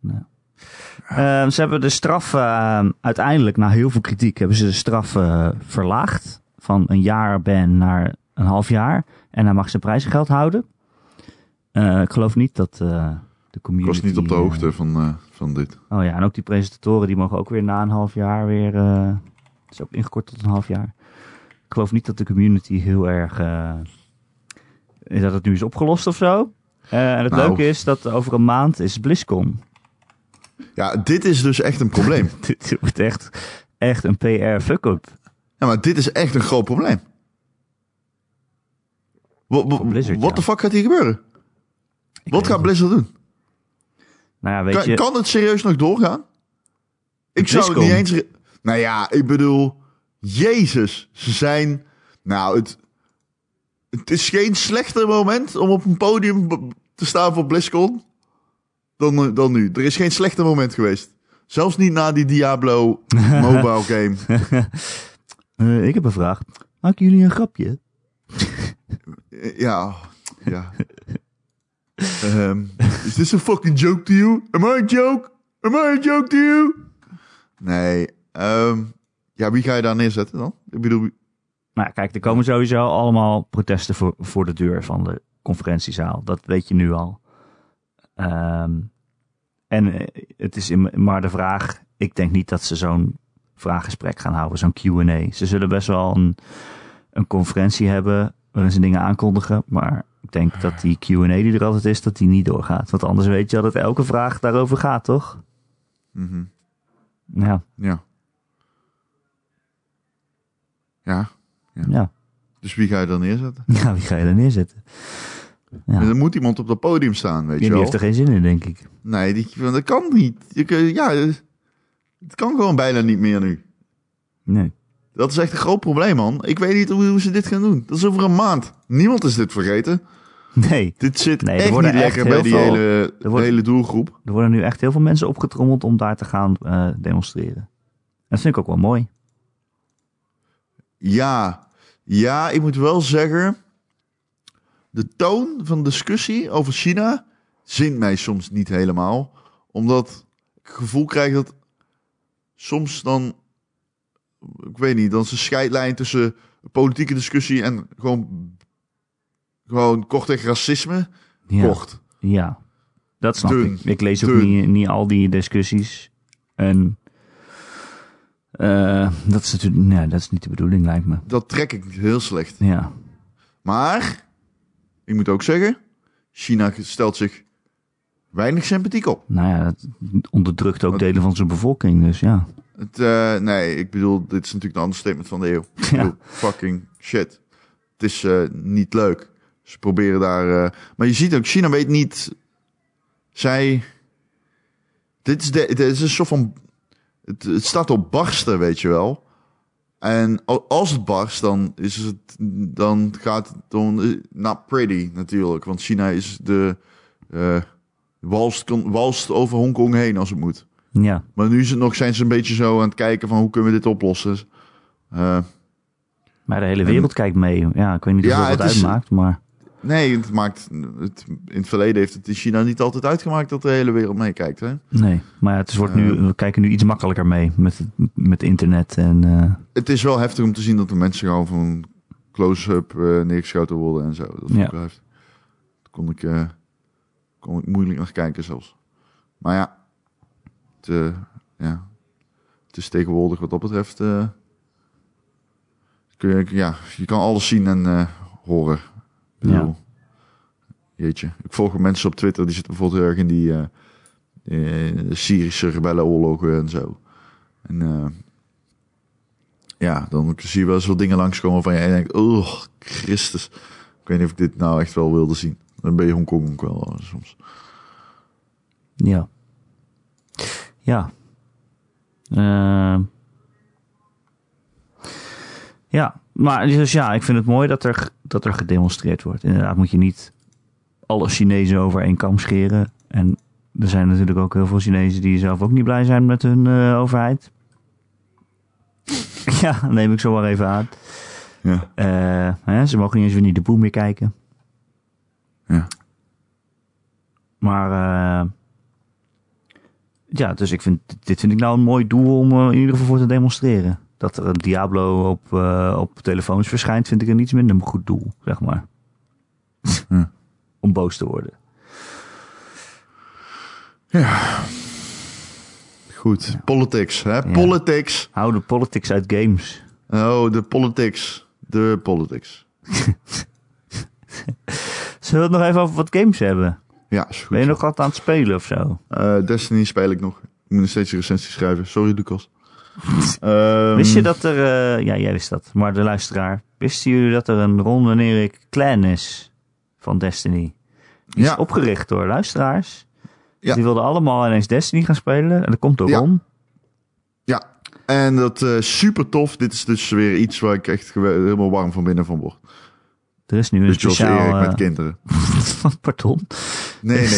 [SPEAKER 1] Nou. Ehm, ze hebben de straf ehm, uiteindelijk, na heel veel kritiek, hebben ze de straf eh, verlaagd. Van een jaar ban naar een half jaar. En hij mag zijn prijzengeld houden. Eh, ik geloof niet dat eh, de
[SPEAKER 2] Ik
[SPEAKER 1] community...
[SPEAKER 2] was niet op de
[SPEAKER 1] eh,
[SPEAKER 2] hoogte van, eh, van dit.
[SPEAKER 1] Oh ja, en ook die presentatoren die mogen ook weer na een half jaar weer. eh, Het is ook ingekort tot een half jaar. Ik geloof niet dat de community heel erg. eh, dat het nu is opgelost of zo. Eh, en het
[SPEAKER 2] Nou.
[SPEAKER 1] leuke is dat over een maand is BlizzCon.
[SPEAKER 2] Ja, dit is dus echt een probleem.
[SPEAKER 1] Dit wordt echt, echt een PR fuck-up
[SPEAKER 2] Ja, maar dit is echt een groot probleem. Wat
[SPEAKER 1] Voor Blizzard,
[SPEAKER 2] de
[SPEAKER 1] ja.
[SPEAKER 2] fuck gaat hier gebeuren?
[SPEAKER 1] Ik weet
[SPEAKER 2] Wat gaat
[SPEAKER 1] het niet.
[SPEAKER 2] Blizzard doen?
[SPEAKER 1] Nou ja, weet
[SPEAKER 2] Kan,
[SPEAKER 1] je.
[SPEAKER 2] kan het serieus nog doorgaan? Ik zou het niet
[SPEAKER 1] BlizzCon.
[SPEAKER 2] eens... re- Nou ja, ik bedoel... Jezus, ze zijn... Nou, het, het is geen slechter moment om op een podium b- te staan voor BlizzCon dan, eh, dan nu. Er is geen slechter moment geweest. Zelfs niet na die Diablo mobile game.
[SPEAKER 1] Eh, ik heb een vraag. Maken jullie een grapje?
[SPEAKER 2] Eh, Ja, ja. Ehm, is this a fucking joke to you? Am I a joke? Am I a joke to you? Nee. ehm, ja, wie ga je daar neerzetten dan? Ik bedoel,
[SPEAKER 1] Maar Nou kijk, er komen sowieso allemaal protesten voor, voor de deur van de conferentiezaal. Dat weet je nu al. Ehm, en eh, het is in- maar de vraag. Ik denk niet dat ze zo'n vraaggesprek gaan houden, zo'n QA. Ze zullen best wel een, een conferentie hebben waarin ze dingen aankondigen. Maar ik denk dat die QA die er altijd is, dat die niet doorgaat. Want anders weet je al dat elke vraag daarover gaat, toch?
[SPEAKER 2] mhm,
[SPEAKER 1] Ja,
[SPEAKER 2] ja. Ja,
[SPEAKER 1] ja.
[SPEAKER 2] dus wie ga je daar neerzetten?
[SPEAKER 1] ja wie ga je er neerzetten? Ja.
[SPEAKER 2] En Er moet iemand op dat podium staan, weet je
[SPEAKER 1] Die
[SPEAKER 2] wel.
[SPEAKER 1] Nou. heeft er geen zin in, denk ik.
[SPEAKER 2] Nee, die, want dat kan niet. Je, kun- ja, het kan gewoon bijna niet meer nu.
[SPEAKER 1] Nee.
[SPEAKER 2] Dat is echt een groot probleem, man. Ik weet niet hoe, hoe ze dit gaan doen. Dat is over een maand. Niemand is dit vergeten.
[SPEAKER 1] Nee.
[SPEAKER 2] Dit zit
[SPEAKER 1] Nee, er
[SPEAKER 2] echt niet
[SPEAKER 1] worden echt
[SPEAKER 2] lekker
[SPEAKER 1] heel
[SPEAKER 2] bij die
[SPEAKER 1] veel-
[SPEAKER 2] hele,
[SPEAKER 1] er wordt-
[SPEAKER 2] hele doelgroep.
[SPEAKER 1] Er worden nu echt heel veel mensen opgetrommeld om daar te gaan eh, demonstreren. En dat vind ik ook wel mooi.
[SPEAKER 2] Ja, ja, ik moet wel zeggen... De toon van discussie over China zint mij soms niet helemaal. Omdat ik het gevoel krijg dat soms dan... Ik weet niet, dan is de scheidlijn tussen politieke discussie en gewoon, gewoon kortweg racisme
[SPEAKER 1] Ja,
[SPEAKER 2] kort.
[SPEAKER 1] ja. dat snap
[SPEAKER 2] Dun.
[SPEAKER 1] ik. Ik lees ook
[SPEAKER 2] Dun.
[SPEAKER 1] niet, niet al die discussies. En eh, dat is natuurlijk nee, dat is niet de bedoeling, lijkt me.
[SPEAKER 2] Dat trek ik heel slecht.
[SPEAKER 1] Ja,
[SPEAKER 2] Maar, ik moet ook zeggen, China stelt zich weinig sympathiek op.
[SPEAKER 1] nou ja, dat onderdrukt ook
[SPEAKER 2] Wat-
[SPEAKER 1] delen van zijn bevolking, dus ja.
[SPEAKER 2] Het, eh, nee, ik bedoel, dit is natuurlijk een ander statement van de eeuw. Ik
[SPEAKER 1] Ja.
[SPEAKER 2] bedoel, fucking shit. Het is eh, niet leuk. Ze proberen daar... eh, maar je ziet ook, China weet niet... Zij... Dit is, de, dit is een soort van... Het, het staat op barsten, weet je wel. En al- als het barst, dan, is het, dan gaat het om... eh, Not pretty, natuurlijk. Want China is de... eh walst, kon- walst over Hongkong heen als het moet.
[SPEAKER 1] Ja,
[SPEAKER 2] Maar nu is het nog, zijn ze een beetje zo aan het kijken van hoe kunnen we dit oplossen. Eh,
[SPEAKER 1] maar de hele wereld kijkt mee. Ja, ik weet niet of
[SPEAKER 2] Ja,
[SPEAKER 1] dat wat
[SPEAKER 2] het is-
[SPEAKER 1] uitmaakt, maar
[SPEAKER 2] nee, het maakt, het, in het verleden heeft het in China niet altijd uitgemaakt dat de hele wereld meekijkt. Hè?
[SPEAKER 1] nee. Maar het wordt nu, we kijken nu iets makkelijker mee met, het- met internet en... eh,
[SPEAKER 2] Het is wel heftig om te zien dat de mensen gewoon van close-up eh, neergeschoten worden en zo. Dat vond
[SPEAKER 1] Ja.
[SPEAKER 2] ik wel heftig. Daar kon ik, eh, kon ik moeilijk naar kijken zelfs. Maar ja, het, eh, ja, het is tegenwoordig wat dat betreft... eh, kun je, ja, je kan alles zien en eh, horen. Ik
[SPEAKER 1] Ja.
[SPEAKER 2] bedoel, Jeetje. Ik volg mensen op Twitter, die zitten bijvoorbeeld heel erg in die eh, eh, Syrische rebellenoorlogen en zo. En eh, ja, dan zie je wel eens wat dingen langskomen van je en je denkt, oh, Christus. Ik weet niet of ik dit nou echt wel wilde zien. Dan ben je Hongkong ook wel eh, soms.
[SPEAKER 1] Ja. Ja. Ehm. ja, maar dus ja, ik vind het mooi dat er, dat er gedemonstreerd wordt. Inderdaad moet je niet alle Chinezen over één kam scheren. En er zijn natuurlijk ook heel veel Chinezen die zelf ook niet blij zijn met hun eh, overheid. ja, neem ik zo maar even aan.
[SPEAKER 2] Ja.
[SPEAKER 1] Eh, hè, ze mogen niet eens weer niet de boem meer kijken.
[SPEAKER 2] Ja.
[SPEAKER 1] Maar eh, ja, dus ik vind, dit vind ik nou een mooi doel om eh, in ieder geval voor te demonstreren. Dat er een Diablo op, eh, op telefoons verschijnt, vind ik een iets minder goed doel, zeg maar.
[SPEAKER 2] Ja.
[SPEAKER 1] Om boos te worden.
[SPEAKER 2] Goed. Politics, hè? Politics.
[SPEAKER 1] Hou de politics uit games.
[SPEAKER 2] Oh, de politics. De politics.
[SPEAKER 1] Zullen we het nog even over wat games hebben?
[SPEAKER 2] Ja, is goed.
[SPEAKER 1] Ben je nog wat aan het spelen of zo?
[SPEAKER 2] Eh, Destiny speel ik nog. Ik moet nog steeds een recensie schrijven. Sorry, Lucas. Ehm,
[SPEAKER 1] Wist je dat er... eh, ja, jij wist dat. Maar de luisteraar. Wisten jullie dat er een Ron en Erik clan is van Destiny? Die
[SPEAKER 2] Ja.
[SPEAKER 1] is opgericht door luisteraars.
[SPEAKER 2] Ja.
[SPEAKER 1] Die wilden allemaal ineens Destiny gaan spelen. En dat komt door
[SPEAKER 2] Ja.
[SPEAKER 1] Ron.
[SPEAKER 2] Ja, en dat eh super tof. Dit is dus weer iets waar ik echt gewe- helemaal warm van binnen van word.
[SPEAKER 1] Er is nu een
[SPEAKER 2] Dus Jos
[SPEAKER 1] speciaal...
[SPEAKER 2] Erik met
[SPEAKER 1] eh,
[SPEAKER 2] kinderen.
[SPEAKER 1] pardon.
[SPEAKER 2] Nee, nee.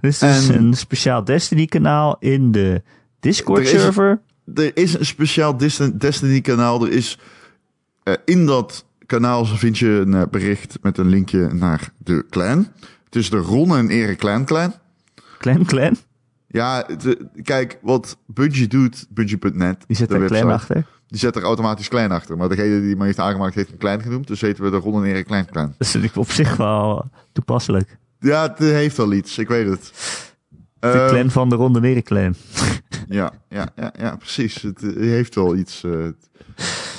[SPEAKER 1] Er is dus
[SPEAKER 2] En-
[SPEAKER 1] een speciaal Destiny kanaal in de Discord
[SPEAKER 2] Er is-
[SPEAKER 1] server.
[SPEAKER 2] er is een speciaal Distin- Destiny kanaal. Er is eh, in dat kanaal vind je een eh, bericht met een linkje naar de clan. Het is de Ron en Erik clan clan.
[SPEAKER 1] Clan Clan.
[SPEAKER 2] Ja, de- kijk, wat Budgie doet, Budgie.net,
[SPEAKER 1] Die zit
[SPEAKER 2] de
[SPEAKER 1] er
[SPEAKER 2] website,
[SPEAKER 1] klem achter.
[SPEAKER 2] die zet er automatisch klein achter. Maar degene die me heeft aangemaakt heeft hem klein genoemd. Dus heten we de Ron en Erik Klein Klein.
[SPEAKER 1] Dat vind ik op zich wel toepasselijk.
[SPEAKER 2] Ja, het eh, heeft al iets, ik weet het.
[SPEAKER 1] De
[SPEAKER 2] Ehm,
[SPEAKER 1] clan van de Ronde Neren clan.
[SPEAKER 2] Ja, ja, ja, ja, precies. Het eh, heeft wel iets. eh,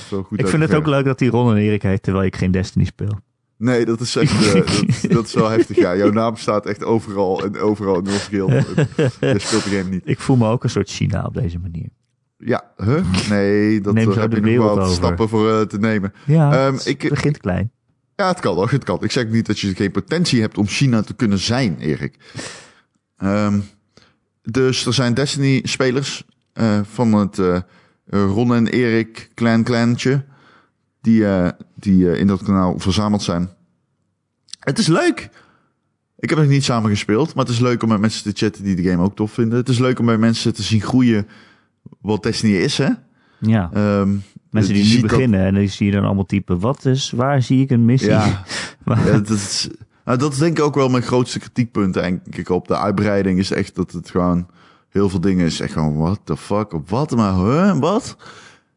[SPEAKER 2] zo goed
[SPEAKER 1] Ik vind het ook
[SPEAKER 2] uitgewerkt.
[SPEAKER 1] leuk dat die Ron en Erik heet, terwijl ik geen Destiny speel.
[SPEAKER 2] Nee, dat is echt. eh, dat, dat is wel heftig. Ja, jouw naam staat echt overal en overal in North Guild. Je speelt de game niet.
[SPEAKER 1] Ik voel me ook een soort China op deze manier.
[SPEAKER 2] Ja, huh? Nee, dat eh,
[SPEAKER 1] Neem zo
[SPEAKER 2] heb
[SPEAKER 1] de
[SPEAKER 2] je nog
[SPEAKER 1] wereld
[SPEAKER 2] wel wat
[SPEAKER 1] over.
[SPEAKER 2] stappen voor eh, te nemen.
[SPEAKER 1] Ja,
[SPEAKER 2] Ehm,
[SPEAKER 1] het
[SPEAKER 2] ik-
[SPEAKER 1] begint klein.
[SPEAKER 2] Ja, het kan nog. Het kan. Ik zeg niet dat je geen potentie hebt om China te kunnen zijn, Erik. Ehm, dus er zijn Destiny-spelers eh, van het eh, Ron en Erik clan-clantje. Die, eh, die eh, in dat kanaal verzameld zijn. Het is leuk. Ik heb nog niet samen gespeeld, maar het is leuk om met mensen te chatten die de game ook tof vinden. Het is leuk om bij mensen te zien groeien wat Destiny is, hè?
[SPEAKER 1] Ja,
[SPEAKER 2] Ehm,
[SPEAKER 1] mensen die nu
[SPEAKER 2] je ziet dat-
[SPEAKER 1] beginnen en die zie je dan allemaal typen, wat is, waar zie ik een missie?
[SPEAKER 2] Ja.
[SPEAKER 1] Maar-
[SPEAKER 2] Ja, dat, is, nou, dat is denk ik ook wel mijn grootste kritiekpunt eigenlijk op de uitbreiding. Is echt dat het gewoon heel veel dingen is. Echt gewoon, what the fuck? Wat? Maar huh, wat?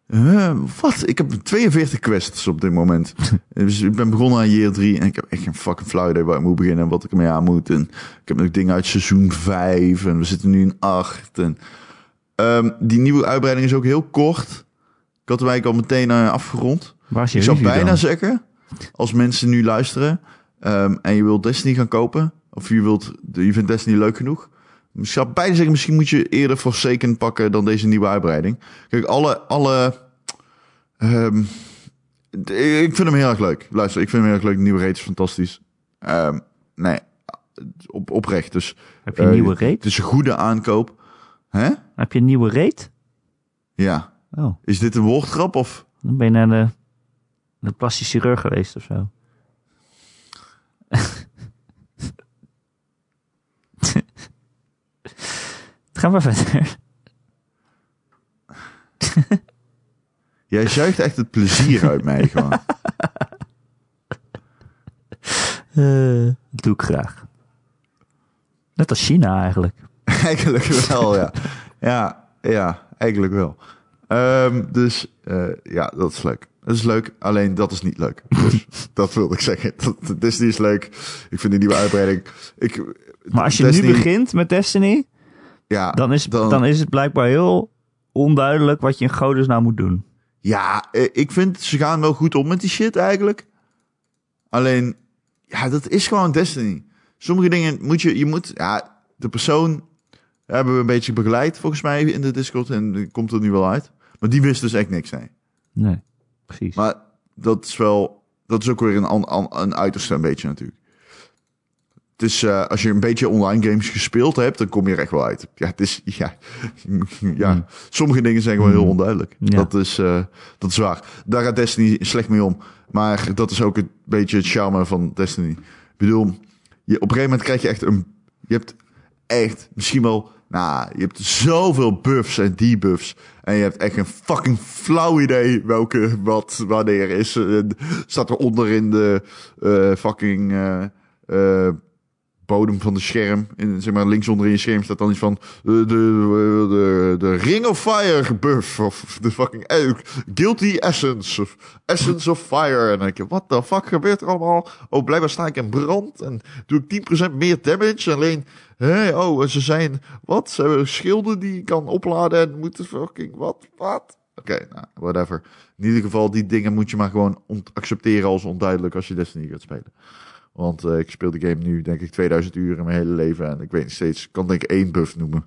[SPEAKER 2] Huh, wat? Ik heb 42 quests op dit moment. dus ik ben begonnen aan year 3 en ik heb echt geen fucking flauw idee waar ik moet beginnen en wat ik ermee aan moet. En ik heb nog dingen uit seizoen 5 en we zitten nu in 8. En, ehm, die nieuwe uitbreiding is ook heel kort. Ik had hem eigenlijk al meteen eh, afgerond.
[SPEAKER 1] waar is je
[SPEAKER 2] Ik zou
[SPEAKER 1] review
[SPEAKER 2] bijna
[SPEAKER 1] dan?
[SPEAKER 2] zeggen, als mensen nu luisteren ehm, en je wilt Destiny gaan kopen, of je, wilt, je vindt Destiny leuk genoeg, ik zou bijna zeggen, misschien moet je eerder Forsaken pakken dan deze nieuwe uitbreiding. Kijk, alle... alle ehm, d- ik vind hem heel erg leuk. Luister, ik vind hem heel erg leuk. De nieuwe raid is fantastisch. Ehm, nee, op, oprecht. Dus
[SPEAKER 1] Heb je een
[SPEAKER 2] eh,
[SPEAKER 1] nieuwe reet?
[SPEAKER 2] het is een goede aankoop. Hè?
[SPEAKER 1] Heb je een nieuwe reet?
[SPEAKER 2] Ja.
[SPEAKER 1] Oh,
[SPEAKER 2] Is dit een woordgrap of...
[SPEAKER 1] dan ben je naar de, de plastisch chirurg geweest of zo. Ga maar verder.
[SPEAKER 2] Jij zuigt echt het plezier uit mij gewoon.
[SPEAKER 1] Eh, dat doe ik graag. Net als China eigenlijk.
[SPEAKER 2] Eigenlijk wel, ja. Ja, ja eigenlijk wel. Ehm, dus eh, ja, dat is leuk. Dat is leuk, alleen dat is niet leuk. Dus dat wilde ik zeggen. Dat, Disney is leuk. Ik vind die nieuwe uitbreiding. Ik,
[SPEAKER 1] Maar als je
[SPEAKER 2] Destiny-
[SPEAKER 1] nu begint met Destiny,
[SPEAKER 2] Ja,
[SPEAKER 1] dan is, dan... is het blijkbaar heel onduidelijk wat je in Godus nou moet doen.
[SPEAKER 2] ja, eh, ik vind ze gaan wel goed om met die shit eigenlijk. Alleen, ja, dat is gewoon Destiny. Sommige dingen moet je, je moet, ja, de persoon hebben we een beetje begeleid volgens mij in de Discord en die komt er nu wel uit. Maar die wist dus echt niks, nee.
[SPEAKER 1] Nee, precies.
[SPEAKER 2] Maar dat is wel, dat is ook weer een, an- an- een uiterste een beetje natuurlijk. Het is, eh, als je een beetje online games gespeeld hebt, dan kom je er echt wel uit. Ja, het is, ja, ja. sommige dingen zijn gewoon heel onduidelijk.
[SPEAKER 1] Ja.
[SPEAKER 2] Dat, is, eh, dat is waar. Daar gaat Destiny slecht mee om. Maar dat is ook een beetje het charme van Destiny. Ik bedoel, je, op een gegeven moment krijg je echt een... Je hebt echt misschien wel... Nou, je hebt zoveel buffs en debuffs. En je hebt echt een fucking flauw idee welke wat wanneer is. En staat eronder in de eh, fucking eh, eh, bodem van de scherm. In, zeg maar links onder in je scherm staat dan iets van... eh, de, de, de, de Ring of Fire buff. Of de fucking eh, Guilty Essence. Of Essence of Fire. En dan denk je, what the fuck gebeurt er allemaal? Oh, blijkbaar sta ik in brand. En doe ik 10% meer damage. Alleen, hé, oh, en ze zijn... Wat? Ze hebben schilden die je kan opladen. En moeten fucking... Wat? Wat? Oké, nou, whatever. In ieder geval, die dingen moet je maar gewoon ont- accepteren als onduidelijk als je Destiny gaat spelen. Want eh, ik speel de game nu, denk ik, 2000 uur in mijn hele leven. En ik weet nog steeds, ik kan denk ik één buff noemen.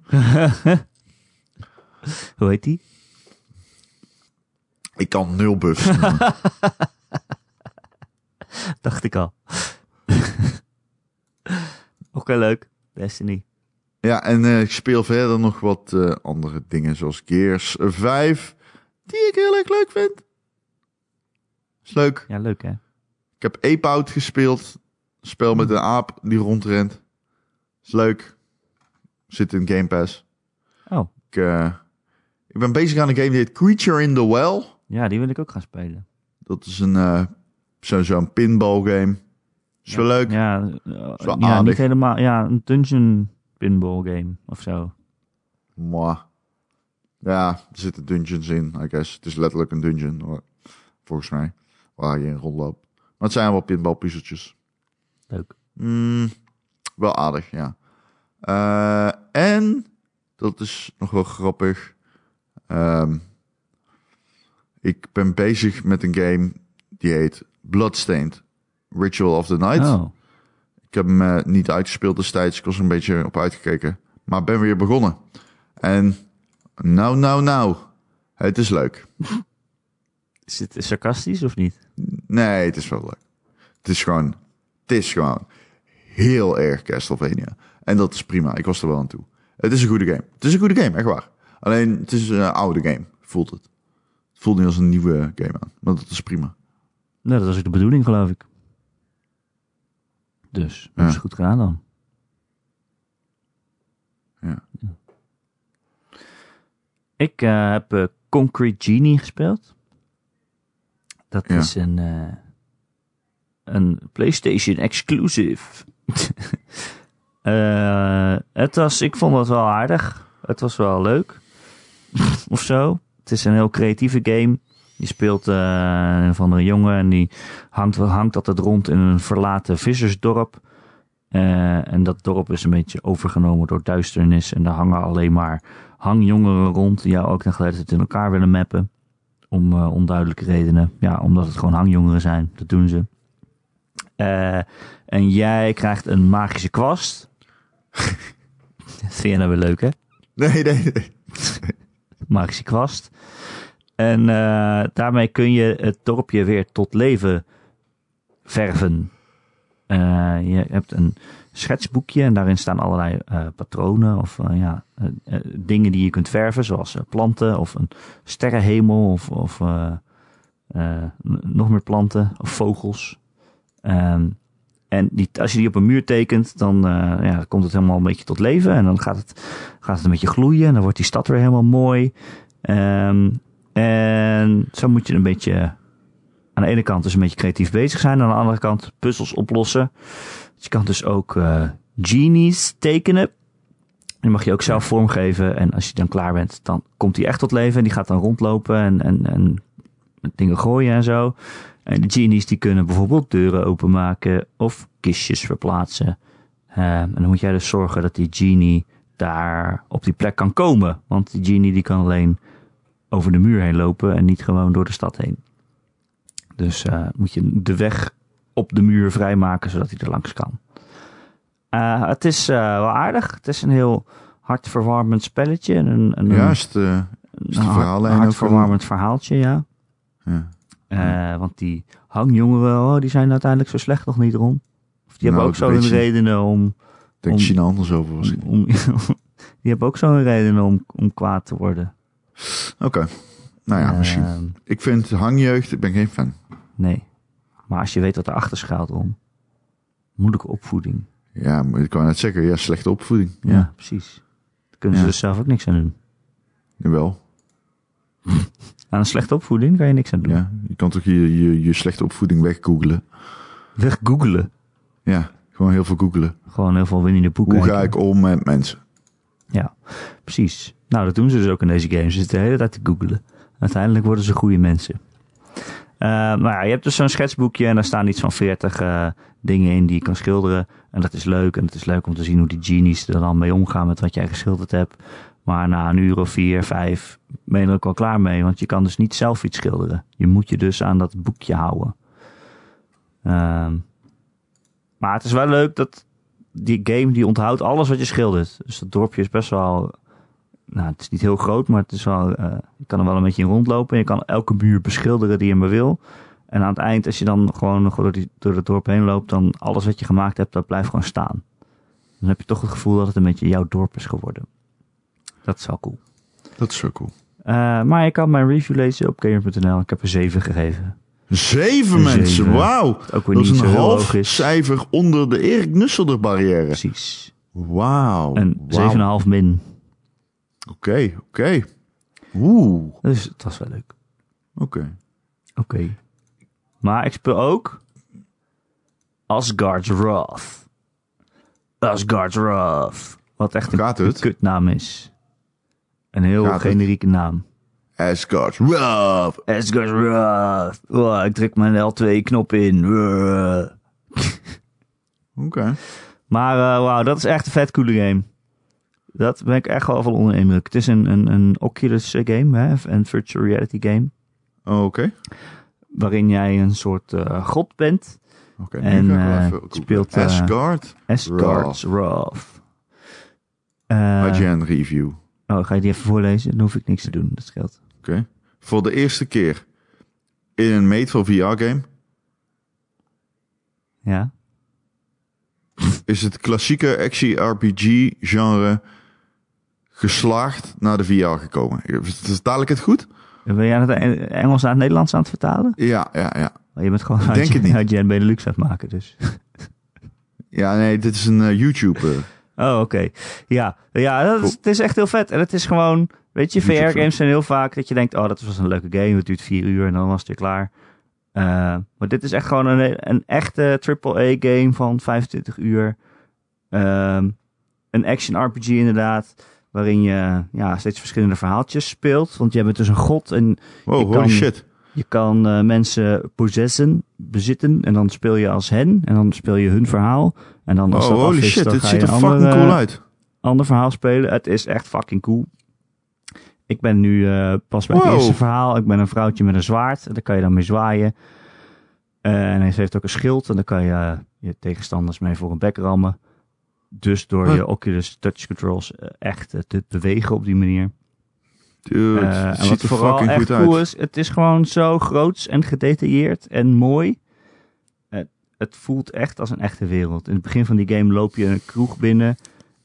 [SPEAKER 1] Hoe heet die?
[SPEAKER 2] Ik kan nul buffs noemen.
[SPEAKER 1] Dacht ik al. Oké, leuk. Destiny.
[SPEAKER 2] ja, en eh, ik speel verder nog wat eh, andere dingen, zoals Gears 5. Die ik heel erg leuk vind. Is leuk.
[SPEAKER 1] Ja, leuk hè?
[SPEAKER 2] Ik heb Ape Out gespeeld. Spel met een aap die rondrent. Is leuk. Zit in Game Pass.
[SPEAKER 1] Oh,
[SPEAKER 2] Ik, eh, ik ben bezig aan een game die heet Creature in the Well.
[SPEAKER 1] ja, die wil ik ook gaan spelen.
[SPEAKER 2] Dat is een eh, zo- zo'n pinball game. Is wel leuk.
[SPEAKER 1] Ja, eh,
[SPEAKER 2] wel
[SPEAKER 1] ja
[SPEAKER 2] aardig.
[SPEAKER 1] niet helemaal. Ja, een dungeon pinball game of zo.
[SPEAKER 2] Mwah. Ja, er zitten dungeons in, I guess. Het is letterlijk een dungeon, hoor. volgens mij. Waar je in rondloopt. Maar het zijn wel pinbalpuzzeltjes.
[SPEAKER 1] Leuk.
[SPEAKER 2] Mm, wel aardig, ja. Eh, en, dat is nog wel grappig. Ehm, ik ben bezig met een game die heet Bloodstained Ritual of the Night.
[SPEAKER 1] Oh,
[SPEAKER 2] Ik heb hem eh, niet uitgespeeld destijds. Ik was er een beetje op uitgekeken. Maar ben weer begonnen. En nou, nou, nou. Het is leuk.
[SPEAKER 1] is dit sarcastisch of niet?
[SPEAKER 2] Nee, het is wel leuk. Het is gewoon... Het is gewoon heel erg Castlevania. En dat is prima. Ik was er wel aan toe. Het is een goede game. Het is een goede game, echt waar. Alleen, het is een eh, oude game, voelt het. Het voelt niet als een nieuwe game aan. Maar dat is prima.
[SPEAKER 1] Nou, dat was ook de bedoeling, geloof ik. Dus, dat is
[SPEAKER 2] Ja.
[SPEAKER 1] goed gedaan dan.
[SPEAKER 2] Ja.
[SPEAKER 1] Ik eh, heb eh, Concrete Genie gespeeld. Dat
[SPEAKER 2] Ja.
[SPEAKER 1] is een, eh, een PlayStation exclusive. Eh, het was, ik vond het wel aardig. Het was wel leuk. of zo. Het is een heel creatieve game. Je speelt eh, een of andere jongen en die hangt, hangt altijd rond in een verlaten vissersdorp. Eh, en dat dorp is een beetje overgenomen door duisternis. En daar hangen alleen maar hangjongeren rond die jou ook ten geleide tijd in elkaar willen mappen. Om eh, onduidelijke redenen. Ja, omdat het gewoon hangjongeren zijn. Dat doen ze. Eh, en jij krijgt een magische kwast. dat vind jij nou weer leuk, hè?
[SPEAKER 2] Nee, nee, nee.
[SPEAKER 1] magische kwast. En eh, daarmee kun je het dorpje weer tot leven verven. Eh, je hebt een schetsboekje en daarin staan allerlei eh, patronen of eh, ja, eh, eh, dingen die je kunt verven, zoals eh, planten of een sterrenhemel of, of eh, eh, n- nog meer planten of vogels. Ehm, en die, als je die op een muur tekent, dan eh, ja, komt het helemaal een beetje tot leven en dan gaat het gaat het een beetje gloeien. En dan wordt die stad weer helemaal mooi. Ehm, en zo moet je een beetje... Aan de ene kant dus een beetje creatief bezig zijn. Aan de andere kant puzzels oplossen. Dus je kan dus ook eh, genies tekenen. Die mag je ook zelf vormgeven. En als je dan klaar bent, dan komt die echt tot leven. En die gaat dan rondlopen en, en, en met dingen gooien en zo. En de genies die kunnen bijvoorbeeld deuren openmaken of kistjes verplaatsen. Ehm, en dan moet jij dus zorgen dat die genie daar op die plek kan komen. Want die genie die kan alleen over de muur heen lopen en niet gewoon door de stad heen. Dus eh, moet je de weg op de muur vrijmaken zodat hij er langs kan. Eh, het is eh, wel aardig. Het is een heel hartverwarmend spelletje. en Een, een,
[SPEAKER 2] Ja, is het, eh,
[SPEAKER 1] een,
[SPEAKER 2] is die verhaallijn ook
[SPEAKER 1] hartverwarmend verhaaltje, ja.
[SPEAKER 2] ja.
[SPEAKER 1] Eh, want die hangjongeren, oh, die zijn uiteindelijk zo slecht nog niet, rond. Of die hebben
[SPEAKER 2] Nou,
[SPEAKER 1] ook zo
[SPEAKER 2] een
[SPEAKER 1] hun
[SPEAKER 2] beetje.
[SPEAKER 1] redenen om...
[SPEAKER 2] Ik denk
[SPEAKER 1] Om- Mm.
[SPEAKER 2] China anders over was.
[SPEAKER 1] om, om- die hebben ook zo hun redenen om, om kwaad te worden.
[SPEAKER 2] Oké. Nou ja, misschien.
[SPEAKER 1] Ehm,
[SPEAKER 2] Ik vind hangjeugd, ik ben geen fan.
[SPEAKER 1] nee. Maar als je weet wat erachter schuilt om. Moeilijke opvoeding.
[SPEAKER 2] Ja, maar ik kan net zeggen, ja, slechte opvoeding.
[SPEAKER 1] Ja,
[SPEAKER 2] Ja,
[SPEAKER 1] precies. Daar kunnen ze
[SPEAKER 2] Ja.
[SPEAKER 1] dus zelf ook niks aan doen.
[SPEAKER 2] wel.
[SPEAKER 1] Aan een slechte opvoeding kan je niks aan doen.
[SPEAKER 2] Ja. Je kan toch je, je, je slechte opvoeding weggoogelen.
[SPEAKER 1] Weg googelen.
[SPEAKER 2] Ja, gewoon heel veel googelen.
[SPEAKER 1] Gewoon heel veel winnende boeken.
[SPEAKER 2] Hoe ga ik om met mensen?
[SPEAKER 1] Ja, precies. Nou, dat doen ze dus ook in deze games. Ze zitten de hele tijd te googelen. Uiteindelijk worden ze goede mensen. Eh, maar ja, je hebt dus zo'n schetsboekje en daar staan iets van 40 eh, dingen in die je kan schilderen. En dat is leuk. En het is leuk om te zien hoe die genies er dan mee omgaan met wat jij geschilderd hebt. Maar na een uur of vier, vijf ben je er ook al klaar mee. Want je kan dus niet zelf iets schilderen. Je moet je dus aan dat boekje houden. Ehm, maar het is wel leuk dat, die game die onthoudt alles wat je schildert. Dus dat dorpje is best wel. Nou, het is niet heel groot, maar het is wel. eh, je kan er wel een beetje in rondlopen. Je kan elke muur beschilderen die je maar wil. En aan het eind, als je dan gewoon nog door, die, door het dorp heen loopt, dan alles wat je gemaakt hebt, dat blijft gewoon staan. Dan heb je toch het gevoel dat het een beetje jouw dorp is geworden. Dat is wel cool.
[SPEAKER 2] Dat is zo cool.
[SPEAKER 1] Eh, maar je kan mijn review lezen op gamer.nl. Ik heb er 7 gegeven.
[SPEAKER 2] Zeven
[SPEAKER 1] Een
[SPEAKER 2] mensen,
[SPEAKER 1] zeven.
[SPEAKER 2] wauw.
[SPEAKER 1] Ook weer
[SPEAKER 2] Dat is
[SPEAKER 1] niet zo
[SPEAKER 2] een
[SPEAKER 1] heel hoog
[SPEAKER 2] half
[SPEAKER 1] is.
[SPEAKER 2] cijfer onder de Erik Nusselder barrière.
[SPEAKER 1] Precies.
[SPEAKER 2] Wauw.
[SPEAKER 1] En
[SPEAKER 2] wauw.
[SPEAKER 1] 7,5 min.
[SPEAKER 2] Oké, oké. Oeh, oké.
[SPEAKER 1] Dus het was wel leuk. Oké. Maar ik speel ook Asgard's Wrath. Asgard's Wrath. Wat echt een
[SPEAKER 2] Gaat het?
[SPEAKER 1] kutnaam is. Een heel
[SPEAKER 2] Gaat het?
[SPEAKER 1] generieke naam.
[SPEAKER 2] Asgard. Rough.
[SPEAKER 1] Asgard Wrath. Oh, ik druk mijn L2-knop in. Wrath.
[SPEAKER 2] Oké.
[SPEAKER 1] Maar eh, wauw, dat is echt een vet coole game. Dat ben ik echt wel van onder de indruk. Het is een, een, een Oculus eh, game, hè, een virtual reality game.
[SPEAKER 2] Oh, Oké.
[SPEAKER 1] Waarin jij een soort eh, god bent.
[SPEAKER 2] Oké,
[SPEAKER 1] En,
[SPEAKER 2] nu ga ik wel
[SPEAKER 1] eh,
[SPEAKER 2] even googlen.
[SPEAKER 1] speelt, eh,
[SPEAKER 2] Asgard.
[SPEAKER 1] Asgard's Wrath. Eh,
[SPEAKER 2] IGN review.
[SPEAKER 1] oh, ga je die even voorlezen? Dan hoef ik niks te doen, dat scheelt.
[SPEAKER 2] Oké. Voor de eerste keer in een made for VR game
[SPEAKER 1] Ja.
[SPEAKER 2] is het klassieke action RPG genre geslaagd naar de VR gekomen. Vertaal ik het goed?
[SPEAKER 1] Ben jij het Engels naar het Nederlands aan het vertalen?
[SPEAKER 2] Ja, ja, ja.
[SPEAKER 1] Maar je bent gewoon
[SPEAKER 2] denk het niet.
[SPEAKER 1] uit Jan Benelux aan het maken, dus.
[SPEAKER 2] Ja, nee, dit is een eh, YouTube. eh,
[SPEAKER 1] Oh, oké. Ja, ja dat is, het is echt heel vet. En het is gewoon, weet je,
[SPEAKER 2] YouTube
[SPEAKER 1] VR-games zijn heel vaak dat je denkt, oh, dat was een leuke game. Het duurt vier uur en dan was het weer klaar. Eh, maar dit is echt gewoon een, een echte AAA-game van 25 uur. Ehm, een action RPG inderdaad, waarin je ja, steeds verschillende verhaaltjes speelt. Want jij bent dus een god en
[SPEAKER 2] wow,
[SPEAKER 1] Je
[SPEAKER 2] Oh, holy
[SPEAKER 1] kan-
[SPEAKER 2] shit.
[SPEAKER 1] je kan eh, mensen possessen, bezitten. En dan speel je als hen. En dan speel je hun verhaal. En dan als
[SPEAKER 2] Oh,
[SPEAKER 1] dat af
[SPEAKER 2] holy
[SPEAKER 1] is,
[SPEAKER 2] shit.
[SPEAKER 1] dan
[SPEAKER 2] Dit
[SPEAKER 1] ga
[SPEAKER 2] ziet
[SPEAKER 1] je
[SPEAKER 2] er
[SPEAKER 1] een
[SPEAKER 2] fucking
[SPEAKER 1] ander,
[SPEAKER 2] cool
[SPEAKER 1] eh,
[SPEAKER 2] uit.
[SPEAKER 1] ander verhaal spelen. Het is echt fucking cool. Ik ben nu eh, pas bij het
[SPEAKER 2] Wow.
[SPEAKER 1] eerste verhaal. Ik ben een vrouwtje met een zwaard. En daar kan je dan mee zwaaien. Eh, en ze heeft ook een schild. En daar kan je eh, je tegenstanders mee voor een bek rammen. Dus door
[SPEAKER 2] Huh.
[SPEAKER 1] je Oculus Touch Controls eh, echt eh, te bewegen op die manier.
[SPEAKER 2] Dude,
[SPEAKER 1] Eh,
[SPEAKER 2] dit
[SPEAKER 1] en
[SPEAKER 2] ziet
[SPEAKER 1] wat
[SPEAKER 2] er
[SPEAKER 1] vooral
[SPEAKER 2] fucking
[SPEAKER 1] echt
[SPEAKER 2] goed
[SPEAKER 1] cool
[SPEAKER 2] uit.
[SPEAKER 1] is, het is gewoon zo groots en gedetailleerd en mooi. Het, het voelt echt als een echte wereld. In het begin van die game loop je een kroeg binnen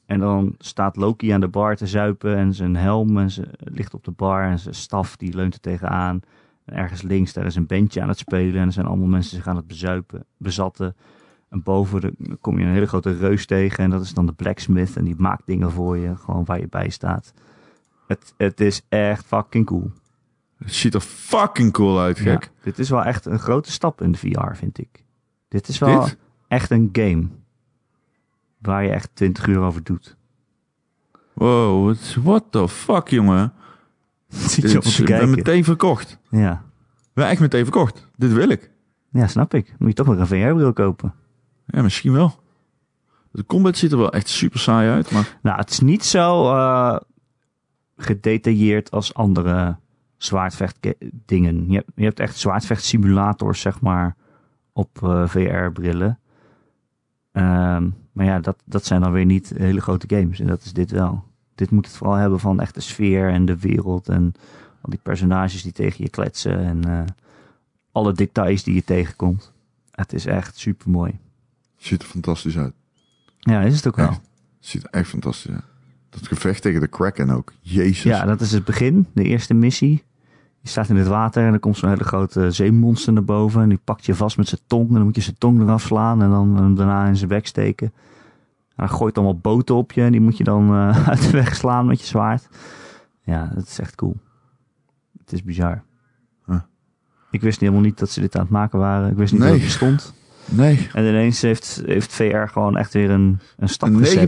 [SPEAKER 1] en dan staat Loki aan de bar te zuipen en zijn helm en ze, ligt op de bar en zijn staf die leunt er tegenaan. En ergens links daar is een bandje aan het spelen en er zijn allemaal mensen zich aan het bezuipen, bezatten. En boven de- kom je een hele grote reus tegen en dat is dan de blacksmith en die maakt dingen voor je, gewoon waar je bij staat. Het, het is echt fucking cool.
[SPEAKER 2] Het ziet er fucking cool uit, gek.
[SPEAKER 1] Ja, dit is wel echt een grote stap in de VR, vind ik. Dit is wel
[SPEAKER 2] Dit?
[SPEAKER 1] echt een game. Waar je echt 20 uur over doet.
[SPEAKER 2] Wow, what- what the fuck, jongen.
[SPEAKER 1] Zit je op
[SPEAKER 2] Dit-
[SPEAKER 1] te
[SPEAKER 2] ik ben
[SPEAKER 1] kijken.
[SPEAKER 2] meteen verkocht.
[SPEAKER 1] Ja.
[SPEAKER 2] Ik ben echt meteen verkocht. Dit wil ik.
[SPEAKER 1] ja, snap ik. Moet je toch maar een VR-bril kopen.
[SPEAKER 2] Ja, misschien wel. De combat ziet er wel echt super saai uit, maar...
[SPEAKER 1] Nou, het is niet zo eh, gedetailleerd als andere zwaardvechtdingen. Je, hebt- je hebt echt zwaardvechtssimulators, zeg maar, op eh, VR-brillen. Ehm, maar ja, dat, dat zijn dan weer niet hele grote games. En dat is dit wel. Dit moet het vooral hebben van echt de sfeer en de wereld. En al die personages die tegen je kletsen. En eh, alle details die je tegenkomt. Het is echt super mooi.
[SPEAKER 2] Ziet er fantastisch uit.
[SPEAKER 1] Ja, is het ook wel.
[SPEAKER 2] Echt. Ziet er echt fantastisch uit. Dat gevecht tegen de Kraken ook. Jezus.
[SPEAKER 1] Ja, dat is het begin, de eerste missie. Je staat in het water en er komt zo'n hele grote zeemonster naar boven. En die pakt je vast met zijn tong. En dan moet je zijn tong eraf slaan en dan hem daarna in zijn bek steken. En hij gooit allemaal boten op je en die moet je dan eh, uit de weg slaan met je zwaard. Ja, dat is echt cool. Het is bizar.
[SPEAKER 2] Huh.
[SPEAKER 1] Ik wist helemaal niet dat ze dit aan het maken waren. Ik wist niet
[SPEAKER 2] Nee.
[SPEAKER 1] dat het bestond.
[SPEAKER 2] Nee.
[SPEAKER 1] En ineens heeft, heeft VR gewoon echt weer een, een stap gezet.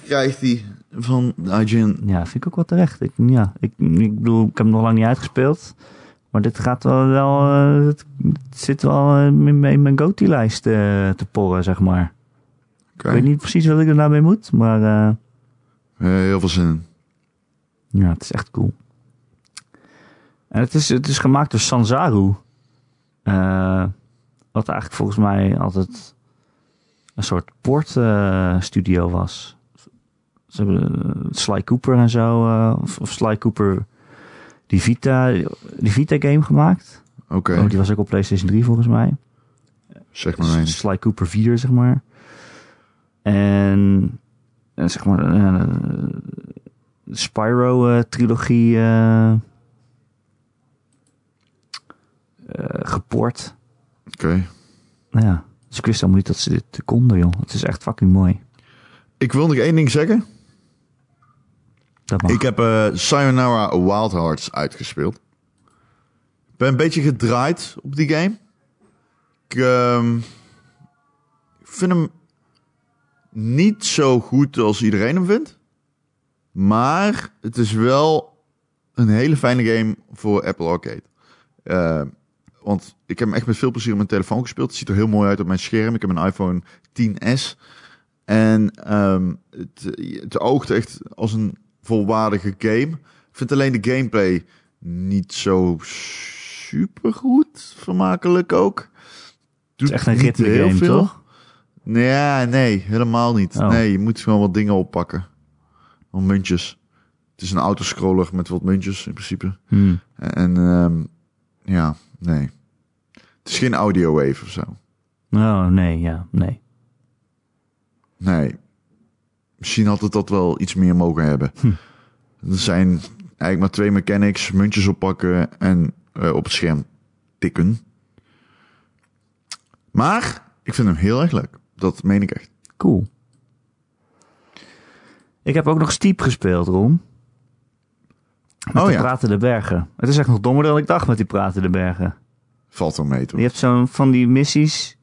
[SPEAKER 2] 9.4 krijgt hij van IGN.
[SPEAKER 1] Ja, vind ik ook wel terecht. Ik, ja, ik, ik bedoel, ik heb hem nog lang niet uitgespeeld. Maar dit gaat wel, wel eh, het, het zit wel eh, in, mijn- in mijn GOTY-lijst eh, te porren, zeg maar.
[SPEAKER 2] Oké.
[SPEAKER 1] Ik weet niet precies wat ik er nou mee moet, maar eh,
[SPEAKER 2] Eh, heel veel zin in.
[SPEAKER 1] ja, het is echt cool. En het is, het is gemaakt door Sanzaru. Eh, wat eigenlijk volgens mij altijd een soort portstudio was. Ze hebben eh, Sly Cooper en zo, eh, of, of Sly Cooper die Vita, die Vita game gemaakt.
[SPEAKER 2] Oké,
[SPEAKER 1] Oh, die was ook op PlayStation 3 volgens mij.
[SPEAKER 2] zeg maar
[SPEAKER 1] Sly
[SPEAKER 2] mijn.
[SPEAKER 1] Sly Cooper 4, zeg maar. En, eh, zeg maar, eh, de Spyro-trilogie eh eh, gepoord.
[SPEAKER 2] Oké.
[SPEAKER 1] Nou ja, dus ik wist helemaal niet dat ze dit konden, joh. Het is echt fucking mooi.
[SPEAKER 2] Ik wil nog één ding zeggen.
[SPEAKER 1] Dat mag.
[SPEAKER 2] Ik heb eh Sayonara Wild Hearts uitgespeeld. Ik ben een beetje gedraaid op die game. Ik ehm, vind hem niet zo goed als iedereen hem vindt. Maar het is wel een hele fijne game voor Apple Arcade. Eh, want ik heb hem echt met veel plezier op mijn telefoon gespeeld. Het ziet er heel mooi uit op mijn scherm. Ik heb een iPhone 10S. En ehm, het, het oogt echt als een volwaardige game. Ik vind alleen de gameplay niet zo super goed. Vermakelijk ook. Doet
[SPEAKER 1] is echt een
[SPEAKER 2] niet
[SPEAKER 1] ritme
[SPEAKER 2] heel
[SPEAKER 1] game,
[SPEAKER 2] veel.
[SPEAKER 1] toch?
[SPEAKER 2] Nee, nee, helemaal niet.
[SPEAKER 1] Oh.
[SPEAKER 2] Nee, je moet gewoon wat dingen oppakken. Om muntjes. Het is een autoscroller met wat muntjes in principe.
[SPEAKER 1] Hmm.
[SPEAKER 2] En ehm, ja, nee. Het is geen audio wave of zo.
[SPEAKER 1] Oh, nee, ja, nee.
[SPEAKER 2] Nee. Misschien had het dat wel iets meer mogen hebben.
[SPEAKER 1] Hm.
[SPEAKER 2] Er zijn eigenlijk maar twee mechanics. Muntjes oppakken en eh, op het scherm tikken. Maar ik vind hem heel erg leuk. Dat meen ik echt.
[SPEAKER 1] Cool. Ik heb ook nog Steep gespeeld, Rom. Met
[SPEAKER 2] Oh
[SPEAKER 1] die
[SPEAKER 2] ja.
[SPEAKER 1] pratende bergen. Het is echt nog dommer dan ik dacht met die pratende bergen.
[SPEAKER 2] Valt wel mee, toch?
[SPEAKER 1] Je hebt zo'n van die missies,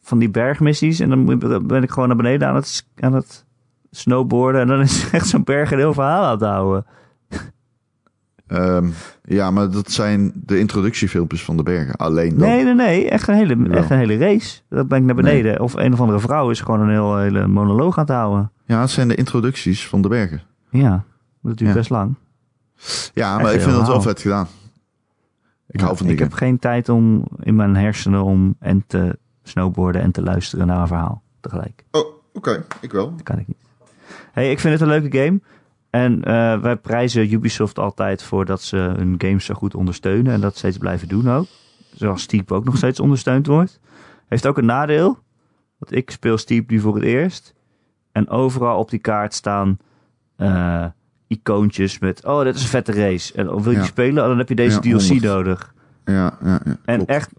[SPEAKER 1] van die bergmissies. En dan moet- ben ik gewoon naar beneden aan het, s- aan het snowboarden. En dan is echt zo'n berg een heel verhaal aan het houden.
[SPEAKER 2] Ehm, ja, maar dat zijn de introductiefilmpjes van de bergen. Alleen dan.
[SPEAKER 1] Nee, nee, nee. Echt een hele,
[SPEAKER 2] Jawel.
[SPEAKER 1] echt een hele race. Dan ben ik naar beneden. Of een of andere vrouw is gewoon een heel, hele monoloog aan het houden.
[SPEAKER 2] Ja, het zijn de introducties van de bergen.
[SPEAKER 1] Ja, dat duurt
[SPEAKER 2] Ja.
[SPEAKER 1] best lang.
[SPEAKER 2] Ja, maar
[SPEAKER 1] Echt
[SPEAKER 2] ik vind dat wel
[SPEAKER 1] helemaal.
[SPEAKER 2] vet gedaan. Ik
[SPEAKER 1] Ja,
[SPEAKER 2] hou van die
[SPEAKER 1] heb
[SPEAKER 2] game.
[SPEAKER 1] geen tijd om in mijn hersenen om en te snowboarden en te luisteren naar een verhaal tegelijk.
[SPEAKER 2] Oh, oké. Ik wel.
[SPEAKER 1] Dat kan ik niet. Hey, ik vind het een leuke game. En eh, wij prijzen Ubisoft altijd voor dat ze hun games zo goed ondersteunen. En dat steeds blijven doen ook. Zoals Steep ook nog steeds ondersteund wordt. Heeft ook een nadeel. Want ik speel Steep nu voor het eerst. En overal op die kaart staan eh, icoontjes met... Oh, dit is een vette race. En oh, wil je
[SPEAKER 2] Ja.
[SPEAKER 1] die spelen? Oh, dan heb je deze
[SPEAKER 2] Ja,
[SPEAKER 1] DLC
[SPEAKER 2] 100.
[SPEAKER 1] nodig.
[SPEAKER 2] Ja, ja, ja.
[SPEAKER 1] En
[SPEAKER 2] klopt.
[SPEAKER 1] echt,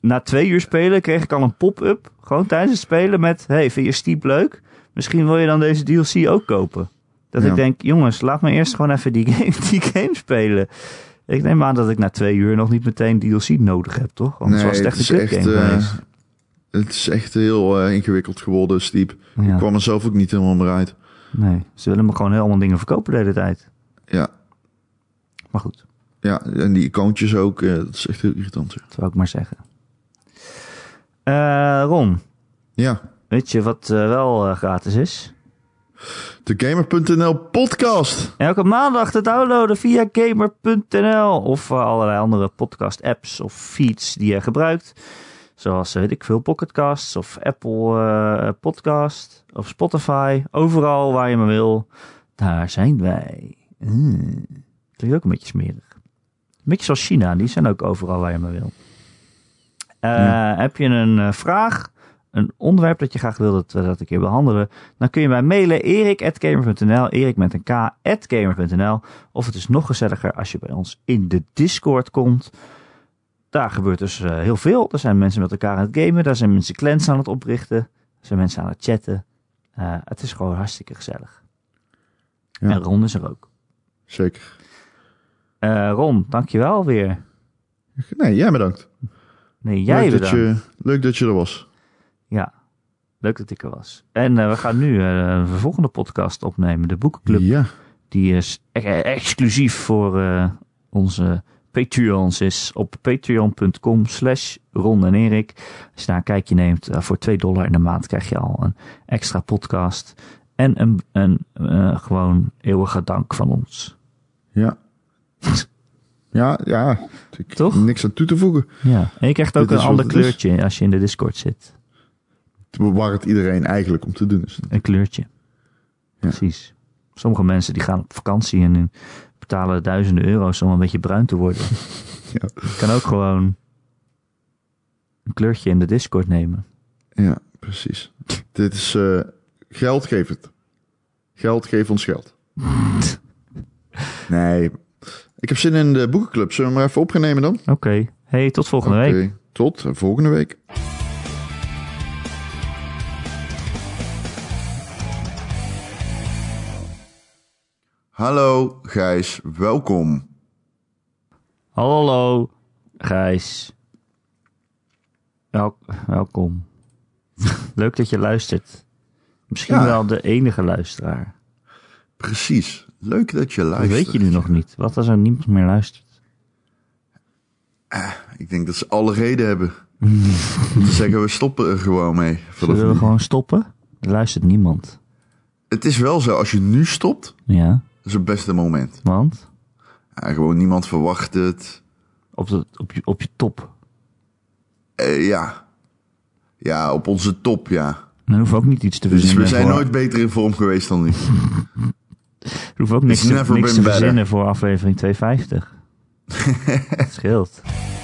[SPEAKER 1] na twee uur spelen kreeg ik al een pop-up. Gewoon tijdens het spelen met: Hey, vind je Steep leuk? Misschien wil je dan deze DLC ook kopen. Dat
[SPEAKER 2] Ja.
[SPEAKER 1] ik denk: Jongens, laat me eerst gewoon even die game, die game spelen. Ik neem aan dat ik na twee uur nog niet meteen DLC nodig heb, toch? Anders
[SPEAKER 2] Nee,
[SPEAKER 1] was het echt
[SPEAKER 2] het
[SPEAKER 1] een
[SPEAKER 2] is echt,
[SPEAKER 1] kutgame
[SPEAKER 2] eh,
[SPEAKER 1] geweest.
[SPEAKER 2] Het is echt heel eh, ingewikkeld geworden, Steep. Ik
[SPEAKER 1] Ja,
[SPEAKER 2] kwam er zelf ook niet helemaal meer uit.
[SPEAKER 1] nee. Ze willen me gewoon helemaal dingen verkopen de hele tijd.
[SPEAKER 2] Ja,
[SPEAKER 1] Maar goed,
[SPEAKER 2] ja. En die icoontjes ook. eh, dat is echt heel irritant. zeg.
[SPEAKER 1] dat wil ik maar zeggen. Eh Ron,
[SPEAKER 2] Ja.
[SPEAKER 1] weet je wat eh, wel eh, gratis is?
[SPEAKER 2] De Gamer.nl podcast.
[SPEAKER 1] Elke maandag te downloaden via gamer.nl of eh, allerlei andere podcast apps of feeds die je gebruikt. Zoals, eh, weet ik veel, Pocketcasts of Apple eh, Podcast of Spotify. Overal waar je maar wil, daar zijn wij. Mm. Klinkt ook een beetje smerig. Een beetje zoals China, die zijn ook overal waar je maar wil. Eh, Heb je een eh, vraag, een onderwerp dat je graag wil dat we dat een keer behandelen, dan kun je mij mailen erik.gamer.nl, erik met een k, at gamer.nl. Of het is nog gezelliger als je bij ons in de Discord komt. Daar gebeurt dus eh, heel veel. Er zijn mensen met elkaar aan het gamen, daar zijn mensen clans aan het oprichten, er zijn mensen aan het chatten. Eh, het is gewoon hartstikke gezellig.
[SPEAKER 2] Ja.
[SPEAKER 1] En Ron is er ook.
[SPEAKER 2] Zeker.
[SPEAKER 1] Eh Ron, dankjewel weer.
[SPEAKER 2] Nee, jij bedankt.
[SPEAKER 1] Nee, jij
[SPEAKER 2] leuk,
[SPEAKER 1] bedankt.
[SPEAKER 2] Dat je, leuk dat je er was.
[SPEAKER 1] Ja, leuk dat ik er was. En eh, we gaan nu eh, de volgende podcast opnemen. De Boekenclub.
[SPEAKER 2] Ja.
[SPEAKER 1] Die is ex- exclusief voor eh, onze Patreons is op patreon.com slash Ron en Erik. Als je daar een kijkje neemt, eh, voor 2 dollar in de maand krijg je al een extra podcast. En een, een eh, gewoon eeuwige dank van ons.
[SPEAKER 2] Ja. Ja, ja. Ik-
[SPEAKER 1] Toch?
[SPEAKER 2] Niks aan toe te voegen.
[SPEAKER 1] Ja. En je krijgt ook
[SPEAKER 2] Dit is
[SPEAKER 1] een
[SPEAKER 2] wat
[SPEAKER 1] ander
[SPEAKER 2] het is.
[SPEAKER 1] kleurtje als je in de Discord zit.
[SPEAKER 2] Waar het iedereen eigenlijk om te doen is.
[SPEAKER 1] Een kleurtje. Precies. Sommige mensen die gaan op vakantie en die betalen duizenden euro's om een beetje bruin te worden.
[SPEAKER 2] Ja.
[SPEAKER 1] Je kan ook gewoon een kleurtje in de Discord nemen.
[SPEAKER 2] Ja, precies. Dit is eh, geld geef het. Geld geef ons geld. nee. Ik heb zin in de boekenclub. Zullen we hem maar even op gaan nemen dan?
[SPEAKER 1] Oké. Hey, tot volgende week.
[SPEAKER 2] Oké, Tot eh, volgende week. Hallo Gijs, welkom.
[SPEAKER 1] Hallo, Gijs. Wel- welkom. Leuk dat je luistert. Misschien
[SPEAKER 2] Ja.
[SPEAKER 1] wel de enige luisteraar.
[SPEAKER 2] Precies. Leuk dat je
[SPEAKER 1] Dat
[SPEAKER 2] luistert.
[SPEAKER 1] weet je nu nog niet. Wat als er niemand meer luistert?
[SPEAKER 2] Ik denk dat ze alle reden hebben. Om te zeggen, we stoppen er gewoon mee. Vanaf
[SPEAKER 1] Zullen we
[SPEAKER 2] nu.
[SPEAKER 1] gewoon stoppen? Er luistert niemand.
[SPEAKER 2] Het is wel zo, als je nu stopt,
[SPEAKER 1] Ja,
[SPEAKER 2] is het beste moment.
[SPEAKER 1] want
[SPEAKER 2] Ja, gewoon niemand verwacht het.
[SPEAKER 1] op, de, op, je, op je top.
[SPEAKER 2] Eh, ja. Ja, op onze top, ja.
[SPEAKER 1] Dan hoeven we ook niet iets te
[SPEAKER 2] Dus
[SPEAKER 1] verzinnen.
[SPEAKER 2] we zijn
[SPEAKER 1] voor-
[SPEAKER 2] nooit beter in vorm geweest dan nu.
[SPEAKER 1] we hoeven ook niks,
[SPEAKER 2] It's
[SPEAKER 1] te,
[SPEAKER 2] never
[SPEAKER 1] niks
[SPEAKER 2] been
[SPEAKER 1] te
[SPEAKER 2] better.
[SPEAKER 1] verzinnen voor aflevering 250. Het scheelt.